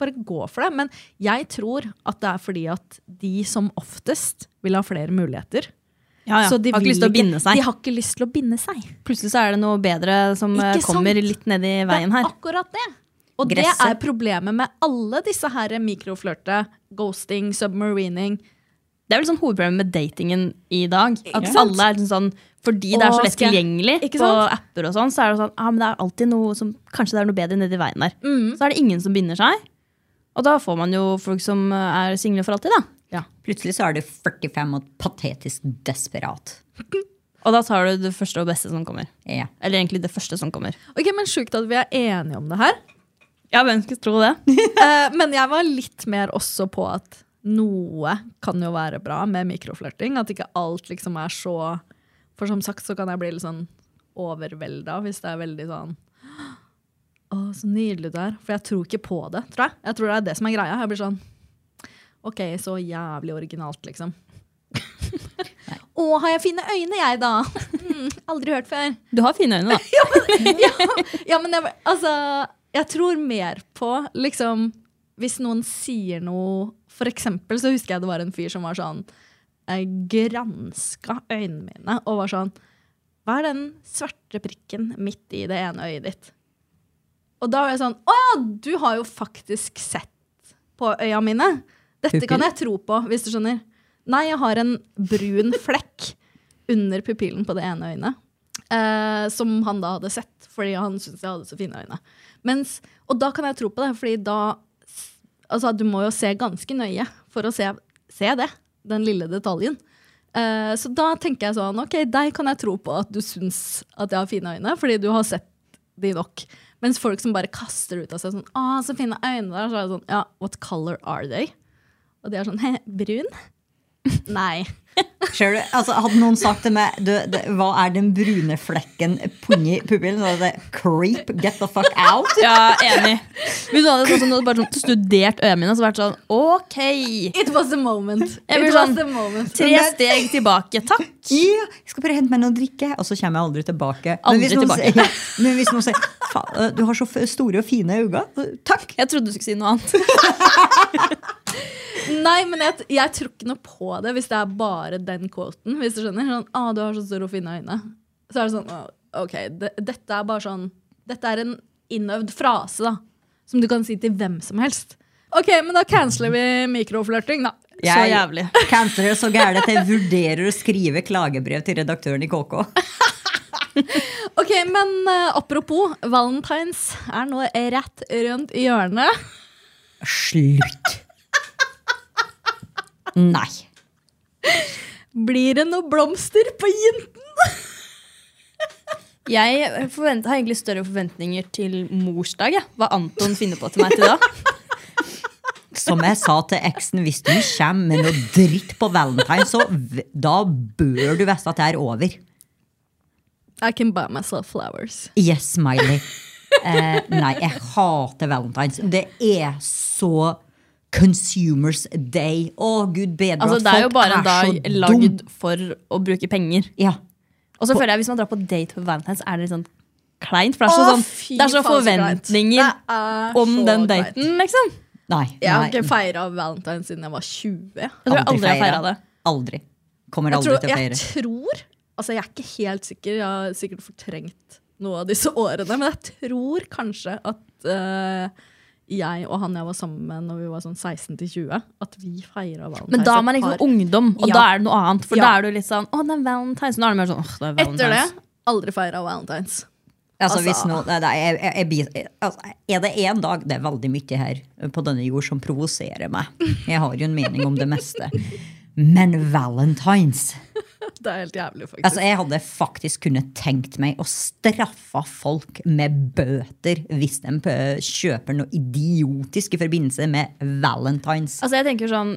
S2: bare gå for det. Men jeg tror at det er fordi at de som oftest vil ha flere muligheter.
S4: Ah, Ja, ja.
S2: Så de
S4: har ikke
S2: vil
S4: lyst til å
S2: ikke-
S4: binde seg.
S2: De har ikke lyst til å binde seg.
S4: Plutselig så er det noe bedre som
S2: Ikke
S4: eh, kommer
S2: sant?
S4: litt nedi veien
S2: Det er
S4: her.
S2: akkurat det. Og det
S3: Gresset.
S2: er problemet med alle disse her mikroflørte, ghosting, submarining.
S4: Det er vel sånn hovedproblemet med datingen i dag. At
S2: Ikke sant?
S4: alle er liksom sånn Fordi det er
S2: Å,
S4: så lett
S2: skal jeg-
S4: tilgjengelig
S2: Ikke
S4: på
S2: sant?
S4: apper, og sånn, så er det sånn ah, men det er alltid noe som Kanskje det er noe bedre nedi veien der.
S2: Mm.
S4: Så er det ingen som binder seg. Og da får man jo folk som eh, er single for alltid, da.
S3: Plutselig så er du 45 og patetisk desperat.
S4: Og da tar du det første og beste som kommer.
S3: Ja.
S4: Eller egentlig det første som kommer.
S2: Ok, men Sjukt at vi er enige om det her.
S4: Ja, hvem skulle tro det?
S2: Eh, men jeg var litt mer også på at noe kan jo være bra med mikroflørting. At ikke alt liksom er så For som sagt så kan jeg bli litt sånn overvelda hvis det er veldig sånn Å, så nydelig det er. For jeg tror ikke på det, tror jeg. Jeg tror det er det som er greia. Jeg blir sånn OK, så jævlig originalt, liksom. Å, har jeg fine øyne, jeg, da? Mm, aldri hørt før.
S4: Du har fine øyne, da.
S2: Ja, men jeg, altså, jeg tror mer på liksom Hvis noen sier noe For eksempel så husker jeg det var en fyr som var sånn eh, Granska øynene mine og var sånn Hva er den svarte prikken midt i det ene øyet ditt? Og da var jeg sånn Å ja, du har jo faktisk sett på øya mine. Dette kan jeg tro på, hvis du skjønner. Nei, jeg har en brun flekk under pupillen på det ene øynet. Eh, som han da hadde sett, fordi han syntes jeg hadde så fine øyne. Mens, og da kan jeg tro på det, fordi da s- Altså, du må jo se ganske nøye for å se, se det. Den lille detaljen. Eh, så da tenker jeg sånn, ok, deg kan jeg tro på at du syns at jeg har fine øyne, fordi du har sett de nok. Mens folk som bare kaster ut av seg sånn, å, så fine øyne der, så er det sånn, ja, what color are they? Og de er sånn, he, brun? Nei.
S3: Ser du? Altså, hadde noen sagt til meg du, det, Hva er den brune flekken punni pupillen? Så hadde det creep, get the fuck out.
S4: Ja, enig. Hvis du hadde sånn, som du hadde bare sånn, studert øynene mine, så vært sånn OK.
S2: It was a moment.
S4: Jeg
S2: It
S4: blir
S2: was
S4: sånn-
S2: a moment.
S4: Tre steg tilbake, takk.
S3: Ja, jeg skal bare hente meg noe å drikke, og så kommer jeg aldri tilbake.
S4: Aldri
S3: hvis noen
S4: tilbake.
S3: sier- ja, men hvis noen sier faen, øh, du har så f- store og fine øyne, øh, takk.
S4: Jeg trodde du skulle si noe annet.
S2: Nei, men jeg, jeg tror ikke noe på det hvis det er bare den quoten. Hvis du skjønner. Sånn, ah, du har så store og fine øyne. Så er det sånn, «Å, ok, det, dette er bare sånn Dette er en innøvd frase, da. Som du kan si til hvem som helst. Ok, men da canceler vi mikroflørting, da.
S4: Så jævlig.
S3: Canceler så gæren at jeg vurderer å skrive klagebrev til redaktøren i KK.
S2: Ok, men eh, apropos, valentines er nå rett rundt hjørnet.
S3: Slutt. Nei.
S2: Blir det noe blomster på jinten?
S4: Jeg forvent, har egentlig større forventninger til morsdag, jeg. Hva Anton finner på til meg til da.
S3: Som jeg sa til eksen, hvis du kommer med noe dritt på valentine, så v- da bør du vite at det er over.
S2: I can buy myself flowers.
S3: Yes, Miley. Eh, nei, jeg hater valentines. Det er så Consumers Day. Å, gud bedre
S4: Altså,
S3: at
S4: det er jo
S3: folk
S4: bare en
S3: så
S4: dag
S3: dum.
S4: lagd for å bruke penger.
S3: Ja.
S4: Og så føler jeg hvis man drar på date på Valentine's, er det litt sånn kleint. For det er så, sånn, det er så forventninger om den daten, liksom.
S3: Nei.
S2: Jeg har
S3: nei.
S2: ikke feira valentine siden jeg var 20.
S4: Jeg tror jeg
S3: Aldri
S4: aldri har
S3: feiret.
S4: feira det.
S3: Aldri. Kommer
S2: Jeg
S3: aldri
S2: tror,
S3: til å
S2: jeg
S3: feire.
S2: tror Altså, jeg er ikke helt sikker, jeg har sikkert fortrengt noe av disse årene, men jeg tror kanskje at eh, jeg og han jeg var sammen med når vi var sånn 16 til 20, at vi feira valentine.
S4: Men da er man liksom ungdom, og
S2: Ja.
S4: da er det noe annet. For
S2: Ja.
S4: da er du litt sånn Å, det er Valentine's. Nå er det mer sånn Åh, det er
S2: Etter det,
S4: Valentine's.
S2: aldri feira valentines.
S3: Altså,
S2: Altså-
S3: hvis noe, nei, nei, jeg, jeg, jeg, blir- altså, er det én dag Det er veldig mye her eh, på denne jord som provoserer meg. Jeg har jo en mening om det meste. Men valentines!
S2: Det er helt jævlig, faktisk.
S3: Altså, jeg hadde faktisk kunnet tenkt meg å straffe folk med bøter hvis de eh, kjøper noe idiotisk i forbindelse med valentines.
S4: Altså, jeg tenker sånn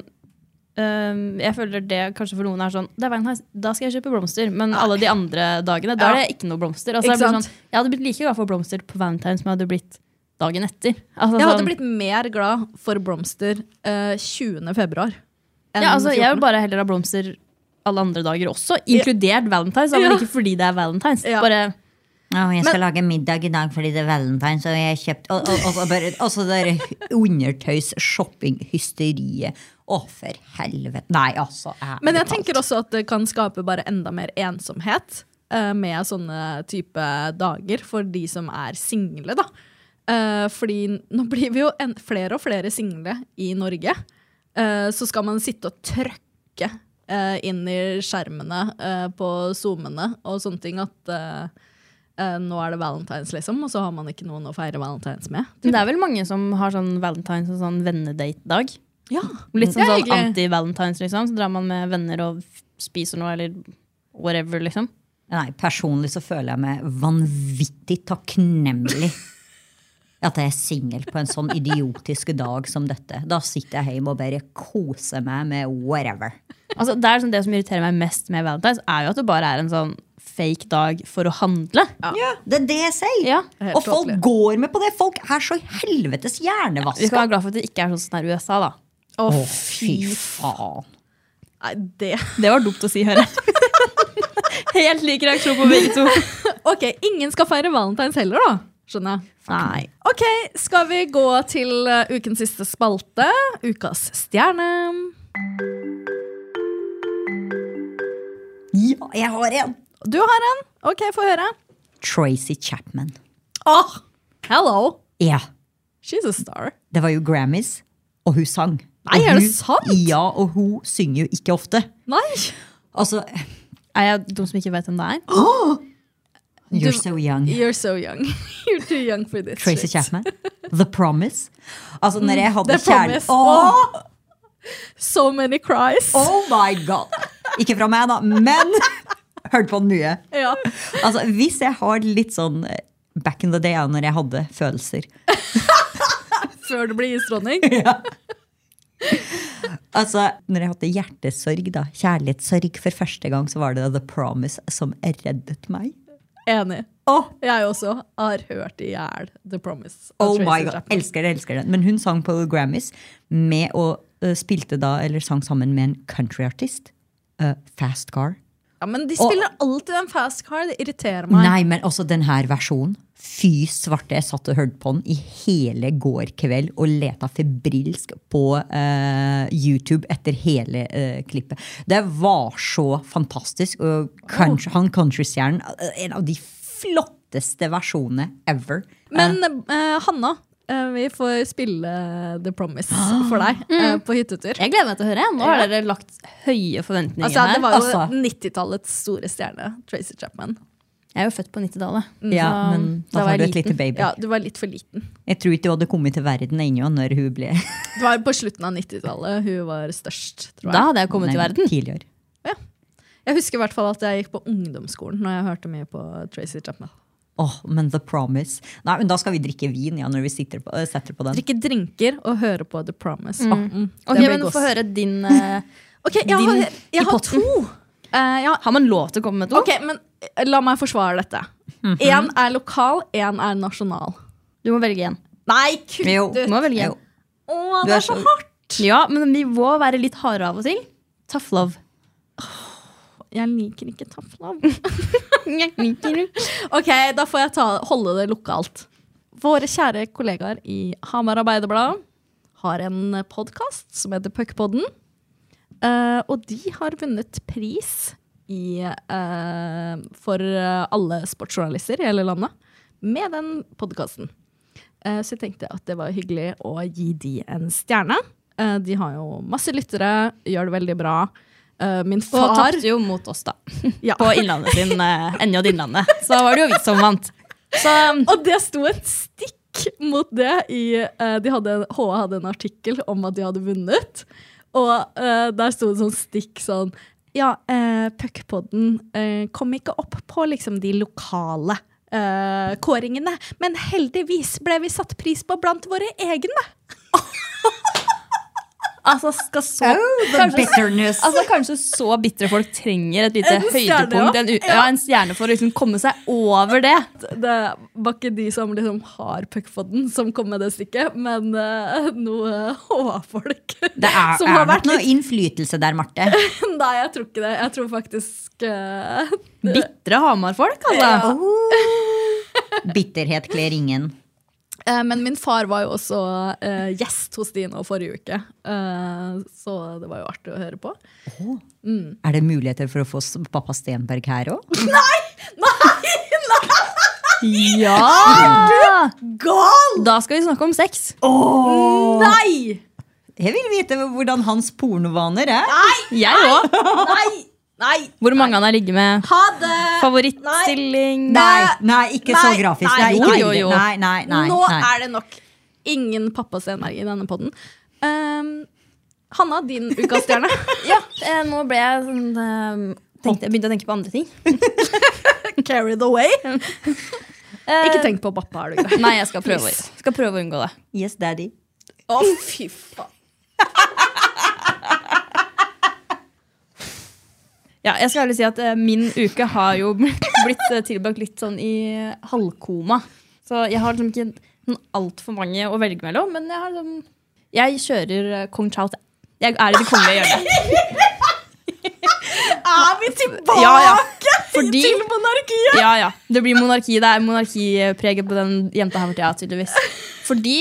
S4: øhm, Jeg føler det kanskje for noen er sånn Det er Valentine's, da skal jeg kjøpe blomster. Men alle de andre dagene, da er det ikke noe blomster. Altså,
S2: Ikke
S4: jeg, blir
S2: sant?
S4: sånn, jeg hadde blitt like glad for blomster på Valentine's som jeg hadde blitt dagen etter. Altså,
S2: Jeg hadde
S4: sånn-
S2: blitt mer glad for blomster eh, 20. februar. enn
S4: ja, altså, jeg
S2: 14..
S4: vil bare heller ha blomster alle andre dager også, inkludert Valentine's. da, Men
S2: Ja.
S4: ikke fordi det er Valentine's.
S2: Ja.
S4: Bare
S3: Å, jeg skal lage middag i dag fordi det er valentines. Og jeg har kjøpt og, og, og, så bare, og så det der undertøys-shopping-hysteriet. Å, for helvete. Nei, altså.
S2: Men jeg tenker også at det kan skape bare enda mer ensomhet eh, med sånne type dager for de som er single, da. Eh, fordi nå blir vi jo en, flere og flere single i Norge. Eh, så skal man sitte og trøkke eh, inn i skjermene eh, på Zoomene og sånne ting at eh, eh, nå er det valentines, liksom, og så har man ikke noen å feire valentines med.
S4: Men det er vel mange som har sånn Valentine's og sånn vennedate-dag.
S2: Ja,
S4: Litt som
S2: Det er
S4: sånn
S2: hyggelig.
S4: anti-Valentine's, liksom. Så drar man med venner og f- spiser noe, eller whatever, liksom.
S3: Nei, personlig så føler jeg meg vanvittig takknemlig. At jeg er singel på en sånn idiotisk dag som dette. Da sitter jeg hjemme og bare koser meg med whatever.
S4: Altså, det, er sånn, det som irriterer meg mest med Valentine's, er jo at det bare er en sånn fake dag for å handle.
S3: Det er det jeg sier!
S4: Ja.
S2: Helt
S3: og folk
S2: tåpelig.
S3: går med på det! Folk er så helvetes
S4: Vi skal
S3: hjernevaska!
S4: være glad for at det ikke er sånn som det er i USA, da.
S2: Å,
S3: Å,
S2: fy
S3: fy faen.
S2: Nei, det
S4: Det var dumt å si, hører jeg. Helt lik reaksjon på begge to.
S2: OK, ingen skal feire valentines heller, da. Skjønner jeg.
S4: Nei.
S2: OK, skal vi gå til eh, ukens siste spalte? Ukas stjerne.
S3: Ja, jeg har en!
S2: Du har en. OK, få høre.
S3: Tracy Chapman.
S2: Åh,
S3: Ah!
S2: hello!
S3: Ja,
S2: She's a star.
S3: det var jo Grammys, og hun sang.
S2: Nei,
S3: Og
S2: er det
S3: hun-
S2: sant?
S3: Ja, og hun synger jo ikke ofte.
S2: Nei!
S3: Altså,
S4: Er jeg dum som ikke vet hvem det er?
S2: Du-
S3: you're so young.
S2: You're so young. You're too young for this
S3: Tracy
S2: shit.
S3: Chapman. The Promise. Altså, når jeg hadde
S2: The Promise.
S3: kjærlighet Åh,
S2: So many cries.
S3: oh my god! Ikke fra meg, da, men hørte på den mye.
S2: Ja.
S3: Altså, hvis jeg har litt sånn eh, back in the day ja, når jeg hadde følelser
S2: Før det blir isdronning.
S3: Altså, når jeg hadde hjertesorg, da, kjærlighetssorg for første gang, så var det The Promise som reddet meg.
S2: Enig.
S3: Åh,
S2: Jeg også har hørt i hjel The Promise. av
S3: Oh
S2: Tracy
S3: my god,
S2: Chapman.
S3: elsker det, elsker det. Men hun sang på Grammys med og eh, spilte da, eller sang sammen med en countryartist. Eh, fast Car.
S2: Ja, men de spiller alltid en fast car. Det irriterer meg.
S3: Oh. Nei, men også den her versjonen. Fy svarte, jeg satt og hørte på den i hele går kveld og leta febrilsk på eh, YouTube etter hele eh, klippet. Det var så fantastisk. Og country, han countrystjernen, eh, en av de flotteste versjonene ever.
S2: Men eh, Hanna, eh, vi får spille The Promise for deg eh,
S3: Mm.
S2: på hyttetur.
S4: Jeg gleder meg til å høre. Nå har dere lagt høye forventninger
S2: Altså, det var jo
S3: altså.
S2: 90-tallets store stjerne, Tracy Chapman. Mm.
S4: Jeg er jo født på 90-tallet.
S3: ja,
S4: så
S3: men
S4: da
S3: da
S4: var
S3: har du
S4: jeg
S3: et
S4: liten.
S3: lite baby.
S2: Ja, du var litt for liten.
S3: Jeg tror ikke hun hadde kommet til verden ennå når hun ble
S2: Det var på slutten av 90-tallet hun var størst, tror
S4: Da
S2: jeg.
S4: hadde jeg kommet til
S3: Nei,
S4: verden.
S3: tidligere.
S2: Jeg husker i hvert fall at jeg gikk på ungdomsskolen når jeg hørte mye på Tracy Chapman.
S3: Åh, men The Promise. Nei, men da skal vi drikke vin ja, når vi sitter på, eh, setter på den.
S2: Drikke drinker og høre på The Promise. Mm. Det
S4: Ok,
S2: blir
S4: men
S2: gås.
S4: Få høre din eh,
S2: Ok, jeg har,
S4: Din
S2: jeg,
S4: i
S2: har
S4: potten.
S2: to. Eh, jeg har
S4: Har man lov til å komme med to?
S2: Ok, men eh, la meg forsvare dette.
S4: Mhm.
S2: Én er lokal, én er nasjonal.
S4: Du må velge en.
S2: Nei, kutt
S3: Jo.
S2: ut!
S4: Du må velge en.
S3: Jo.
S2: Å,
S3: Du
S2: det
S3: er
S2: er så
S3: så-
S2: hardt!
S4: Ja, men vi må være litt harde av og til. Tough love.
S2: Jeg liker ikke taffelavn.
S4: Jeg liker det.
S2: Ok, da får jeg ta, holde det lokalt. Våre kjære kollegaer i Hamar Arbeiderblad har en podkast som heter Puckpodden. Eh, og de har vunnet pris i, eh, for eh, alle sportsjournalister i hele landet med den podkasten. Eh, så jeg tenkte at det var hyggelig å gi de en stjerne. Eh, de har jo masse lyttere, gjør det veldig bra. Eh, min
S4: Og
S2: far
S4: tapte jo mot oss, da.
S2: Ja.
S4: På Innlandet sin, eh, NJ Innlandet. Så var det jo vi som vant. Så um,
S2: Og det sto et stikk mot det i eh, de hadde, HA hadde en artikkel om at de hadde vunnet. Og eh, der sto det sånn stikk sånn Ja, uh, puckpodden eh, kom ikke opp på liksom de lokale eh, kåringene, men heldigvis ble vi satt pris på blant våre egne.
S4: altså, skal så
S3: The bitterness.
S4: Altså Kanskje så bitre folk trenger et lite
S2: En stjerne,
S4: høydepunkt, en, u- ja, en stjerne for å liksom komme seg over det.
S2: Det var ikke de som liksom har puckpodden, som kom med det stikket, men eh, noe HA-folk
S3: Det er,
S2: som
S3: er
S2: har
S3: nok
S2: vært
S3: noe
S2: litt
S3: innflytelse der, Marte.
S2: Nei, jeg tror ikke det. Jeg tror faktisk eh,
S4: Bitre Hamar-folk, altså.
S3: Bitterhet kler ingen.
S2: Eh, Men min far var jo også eh, gjest hos de nå forrige uke, eh, så det var jo artig å høre på.
S3: Er det muligheter for å få s- pappa Stenberg her òg?
S4: Ja!
S2: Gal!
S4: Da skal vi snakke om sex.
S2: Nei!
S3: Jeg vil vite hvordan hans pornovaner er.
S4: Jeg òg.
S2: Nei! Nei!
S4: Hvor mange han har ligget med.
S2: Ha det!
S4: Favorittstilling.
S3: Nei, nei, ikke så
S2: Nei,
S3: grafisk.
S2: nei,
S3: Nei, ikke
S4: jo, jo,
S3: bilder.
S4: jo.
S3: nei, nei, nei,
S2: nå
S3: nei.
S2: er det nok. Ingen pappa Stenberg i denne podden. Ehm, Hanna, din ukastjerne.
S4: Ja, eh, nå ble jeg sånn eh, tenkte, Jeg begynte å tenke på andre ting.
S2: Carried away.
S4: Eh,
S2: Ikke tenk på pappa, er du grei.
S4: Nei, jeg skal prøve, skal prøve å unngå det.
S3: Yes, daddy.
S2: Å, fy faen.
S4: Ja, jeg skal ærlig si at eh, min uke har jo blitt eh, tilbrakt litt sånn i halvkoma. Så jeg har liksom ikke sånn altfor mange å velge mellom, men jeg har liksom Jeg kjører eh, kong Chao Te. Jeg er i det kongelige hjørnet.
S2: Er vi tilbake
S4: Ja, ja. Fordi
S2: til monarkiet?
S4: Ja, ja. Det blir monarki. Det er monarkipreget på den jenta her for tida, tydeligvis. Fordi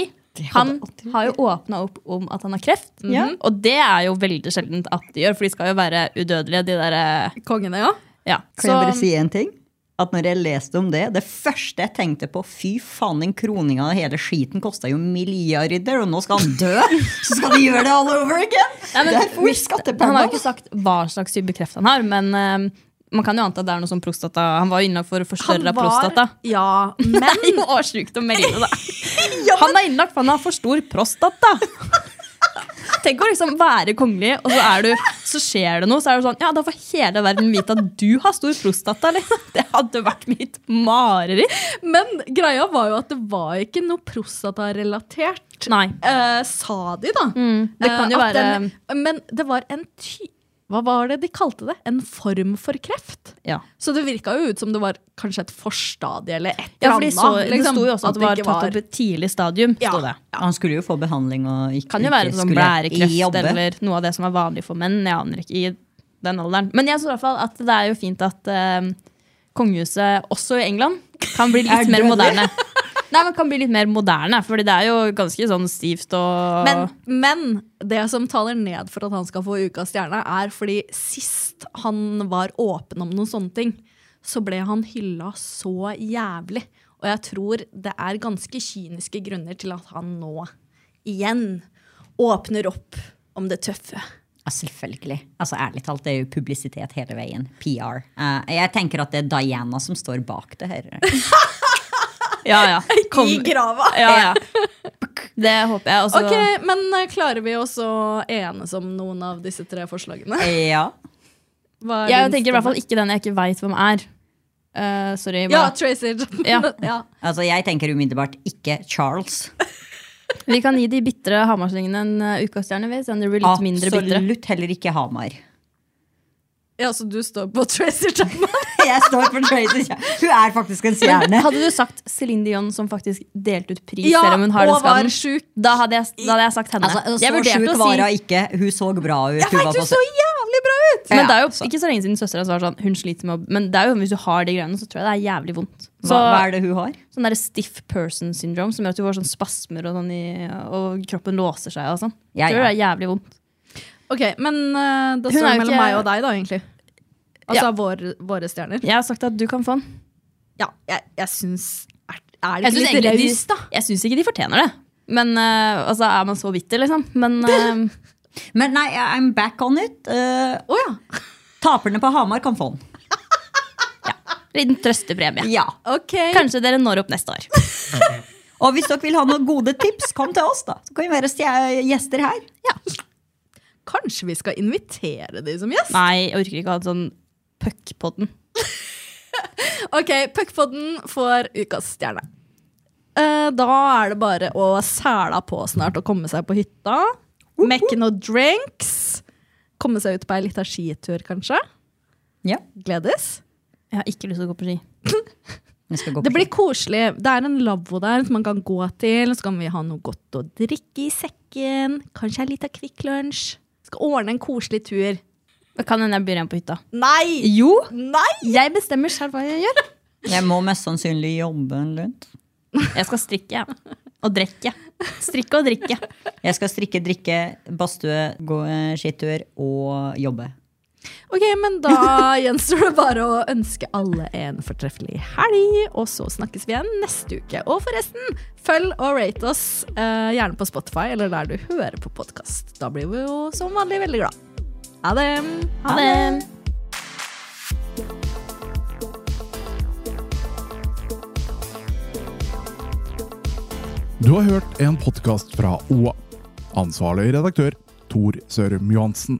S4: han har jo åpna opp om at han har kreft,
S3: Ja.
S4: og det er jo veldig sjeldent at de gjør, for de skal jo være udødelige, de derre
S2: Kongene, ja.
S4: Ja.
S3: Kan jeg
S4: Så-
S3: bare si en ting? At når jeg leste om det, det første jeg tenkte på Fy faen, den kroninga og hele skiten kosta jo milliarder, og nå skal han dø! Så skal de gjøre det all over again!
S4: Nei, men
S3: Derfor
S4: hvis- Han har jo
S3: skattepenger.
S4: ikke sagt hva slags type kreft han har, men eh, man kan jo anta at det er noe som prostata. Han var jo innlagt for forstørra prostata.
S2: Ja, men
S4: Det er jo også sjukt å melde, da. Han er innlagt for han har for stor prostata. Tenk å liksom være kongelig, og så, er du, så skjer det noe. Så er det sånn, ja, Da får hele verden vite at du har stor prostata. Liksom. Det hadde vært mitt mareritt.
S2: Men greia var jo at det var ikke noe prostatarelatert.
S4: Nei.
S2: Eh, sa de, da.
S4: Mm,
S2: Eh,
S4: det kan jo
S2: at
S4: være-
S2: den, Men det var en ty... Hva var det de kalte det? En form for kreft?
S4: Ja.
S2: Så det virka jo ut som det var kanskje et forstadie eller et
S4: Ja,
S2: eller
S4: for de så,
S2: annet,
S4: Det
S2: liksom,
S4: sto jo også at det var
S2: ikke
S4: tatt opp i et tidlig stadium.
S2: Ja.
S4: Sto det.
S3: Han skulle jo få behandling og ikke,
S4: Kan jo være
S3: ikke
S4: sånn
S3: skulle
S4: blærekreft
S3: jobbe.
S4: eller noe av det som er vanlig for menn. Jeg aner ikke i den alderen. Men jeg tror i hvert fall at det er jo fint at eh, kongehuset, også i England, kan bli
S3: Er
S4: litt mer
S3: dødelig.
S4: moderne. Nei, men kan bli litt mer moderne, fordi det er jo ganske sånn stivt og
S2: Men, men det som taler ned for at han skal få Ukas stjerne, er fordi sist han var åpen om noen sånne ting, så ble han hylla så jævlig. Og jeg tror det er ganske kyniske grunner til at han nå igjen åpner opp om det tøffe.
S3: Ja, selvfølgelig. Altså, Ærlig talt, det er jo publisitet hele veien. PR. Eh, jeg tenker at det er Diana som står bak det her.
S4: Ja, ja. Kom,
S2: I grava!
S4: ja, ja. Det håper jeg. Også.
S2: Ok, men eh, klarer vi også å enes om noen av disse tre forslagene?
S3: Ja.
S2: Hva er din
S4: Jeg tenker i
S2: stemme?
S4: hvert fall ikke den jeg ikke veit hvem er. Eh, sorry.
S2: Ja,
S4: hva-
S2: Tracy Chapman.
S4: Ja.
S2: Ja.
S3: Altså, Jeg tenker umiddelbart ikke Charles.
S4: Vi kan gi de bitre hamarslingene en uh, ukastjerne, vi, siden de blir litt mindre bitre.
S3: Absolutt heller ikke Hamar.
S2: ja, så du står på Tracy Chapman?
S3: Jeg står for Tracy Kjær. Hun er faktisk en stjerne.
S4: Hadde du sagt Céline Dion som faktisk delte ut pris,
S2: Ja,
S4: selv om hun har den
S2: og var
S4: skaden, da hadde jeg, da hadde jeg sagt henne.
S3: Altså, så
S4: jeg vurderte
S3: sjuk
S4: å
S3: var
S4: si
S3: hun ikke. Hun så bra ut. Hun var
S2: Nei,
S3: på
S2: du så jævlig
S3: jævlig bra ut!
S4: Men det er jo
S3: så,
S4: ikke så lenge siden søstera var sånn Hun sliter med å Men det er jo hvis du har de greiene, så tror jeg det er jævlig vondt. Så,
S3: hva, hva er det hun har?
S4: Sånn der stiff person syndrome som gjør at du får sånn spasmer og, sånn i, og kroppen låser seg og sånn.
S3: Ja,
S4: Tror
S3: ja.
S4: det er jævlig vondt.
S2: Ok, men eh, da står det
S4: Hun er jo
S2: mellom
S4: ikke-
S2: meg og deg, da, egentlig. Altså
S4: Ja.
S2: vår, våre stjerner.
S4: Jeg har sagt at du kan få den.
S2: Ja, jeg, jeg syns Er, er
S4: Jeg
S2: det ikke
S4: syns
S2: litt
S4: egentlig de-
S2: raust, da?
S4: Jeg syns ikke de fortjener det. Men eh, altså, er man så bitter, liksom? Men eh,
S3: Men nei, I'm back on it. Eh,
S2: Å ja.
S3: taperne på Hamar kan få den.
S4: liten trøstepremie.
S3: Ja.
S2: Ok.
S4: Kanskje dere når opp neste år.
S3: Og hvis dere vil ha noen gode tips, kom til oss, da. Så kan vi være stje- gjester her.
S2: Kanskje vi skal invitere de som gjest?
S4: Nei, jeg orker ikke å ha en sånn puck på den.
S2: Ok, Puckpodden får ukas stjerne. Eh, da er det bare å sæla på snart og komme seg på hytta. Mekke noen drinks. Komme seg ut på ei lita skitur, kanskje.
S3: Ja,
S2: Gledes.
S4: Jeg har ikke lyst til å gå på ski.
S3: vi skal gå
S2: Det
S3: på
S2: blir koselig. Det er en lavvo der som man kan gå til. Så kan vi ha noe godt å drikke i sekken. Kanskje ei lita Kvikk Lunsj. Skal ordne en koselig tur.
S4: Det kan hende jeg blir igjen på hytta.
S2: Nei!
S4: Jo,
S2: Nei!
S4: jeg bestemmer selv hva jeg gjør.
S3: ski. Jeg må mest sannsynlig jobbe en lund.
S4: Jeg skal strikke jeg. og drikke. Strikke og drikke.
S3: Jeg skal strikke, drikke, badstue, gå eh, skitur og jobbe.
S2: Ok, men da gjenstår det bare å ønske alle en fortreffelig helg, og så snakkes vi igjen neste uke. Og forresten, følg og rate oss, eh, gjerne på Spotify eller der du hører på podkast. Da blir vi jo som vanlig veldig glad. Ha det!
S4: Ha det.
S1: Du har hørt en podkast fra OA. Ansvarlig redaktør Tor Sørum Johansen.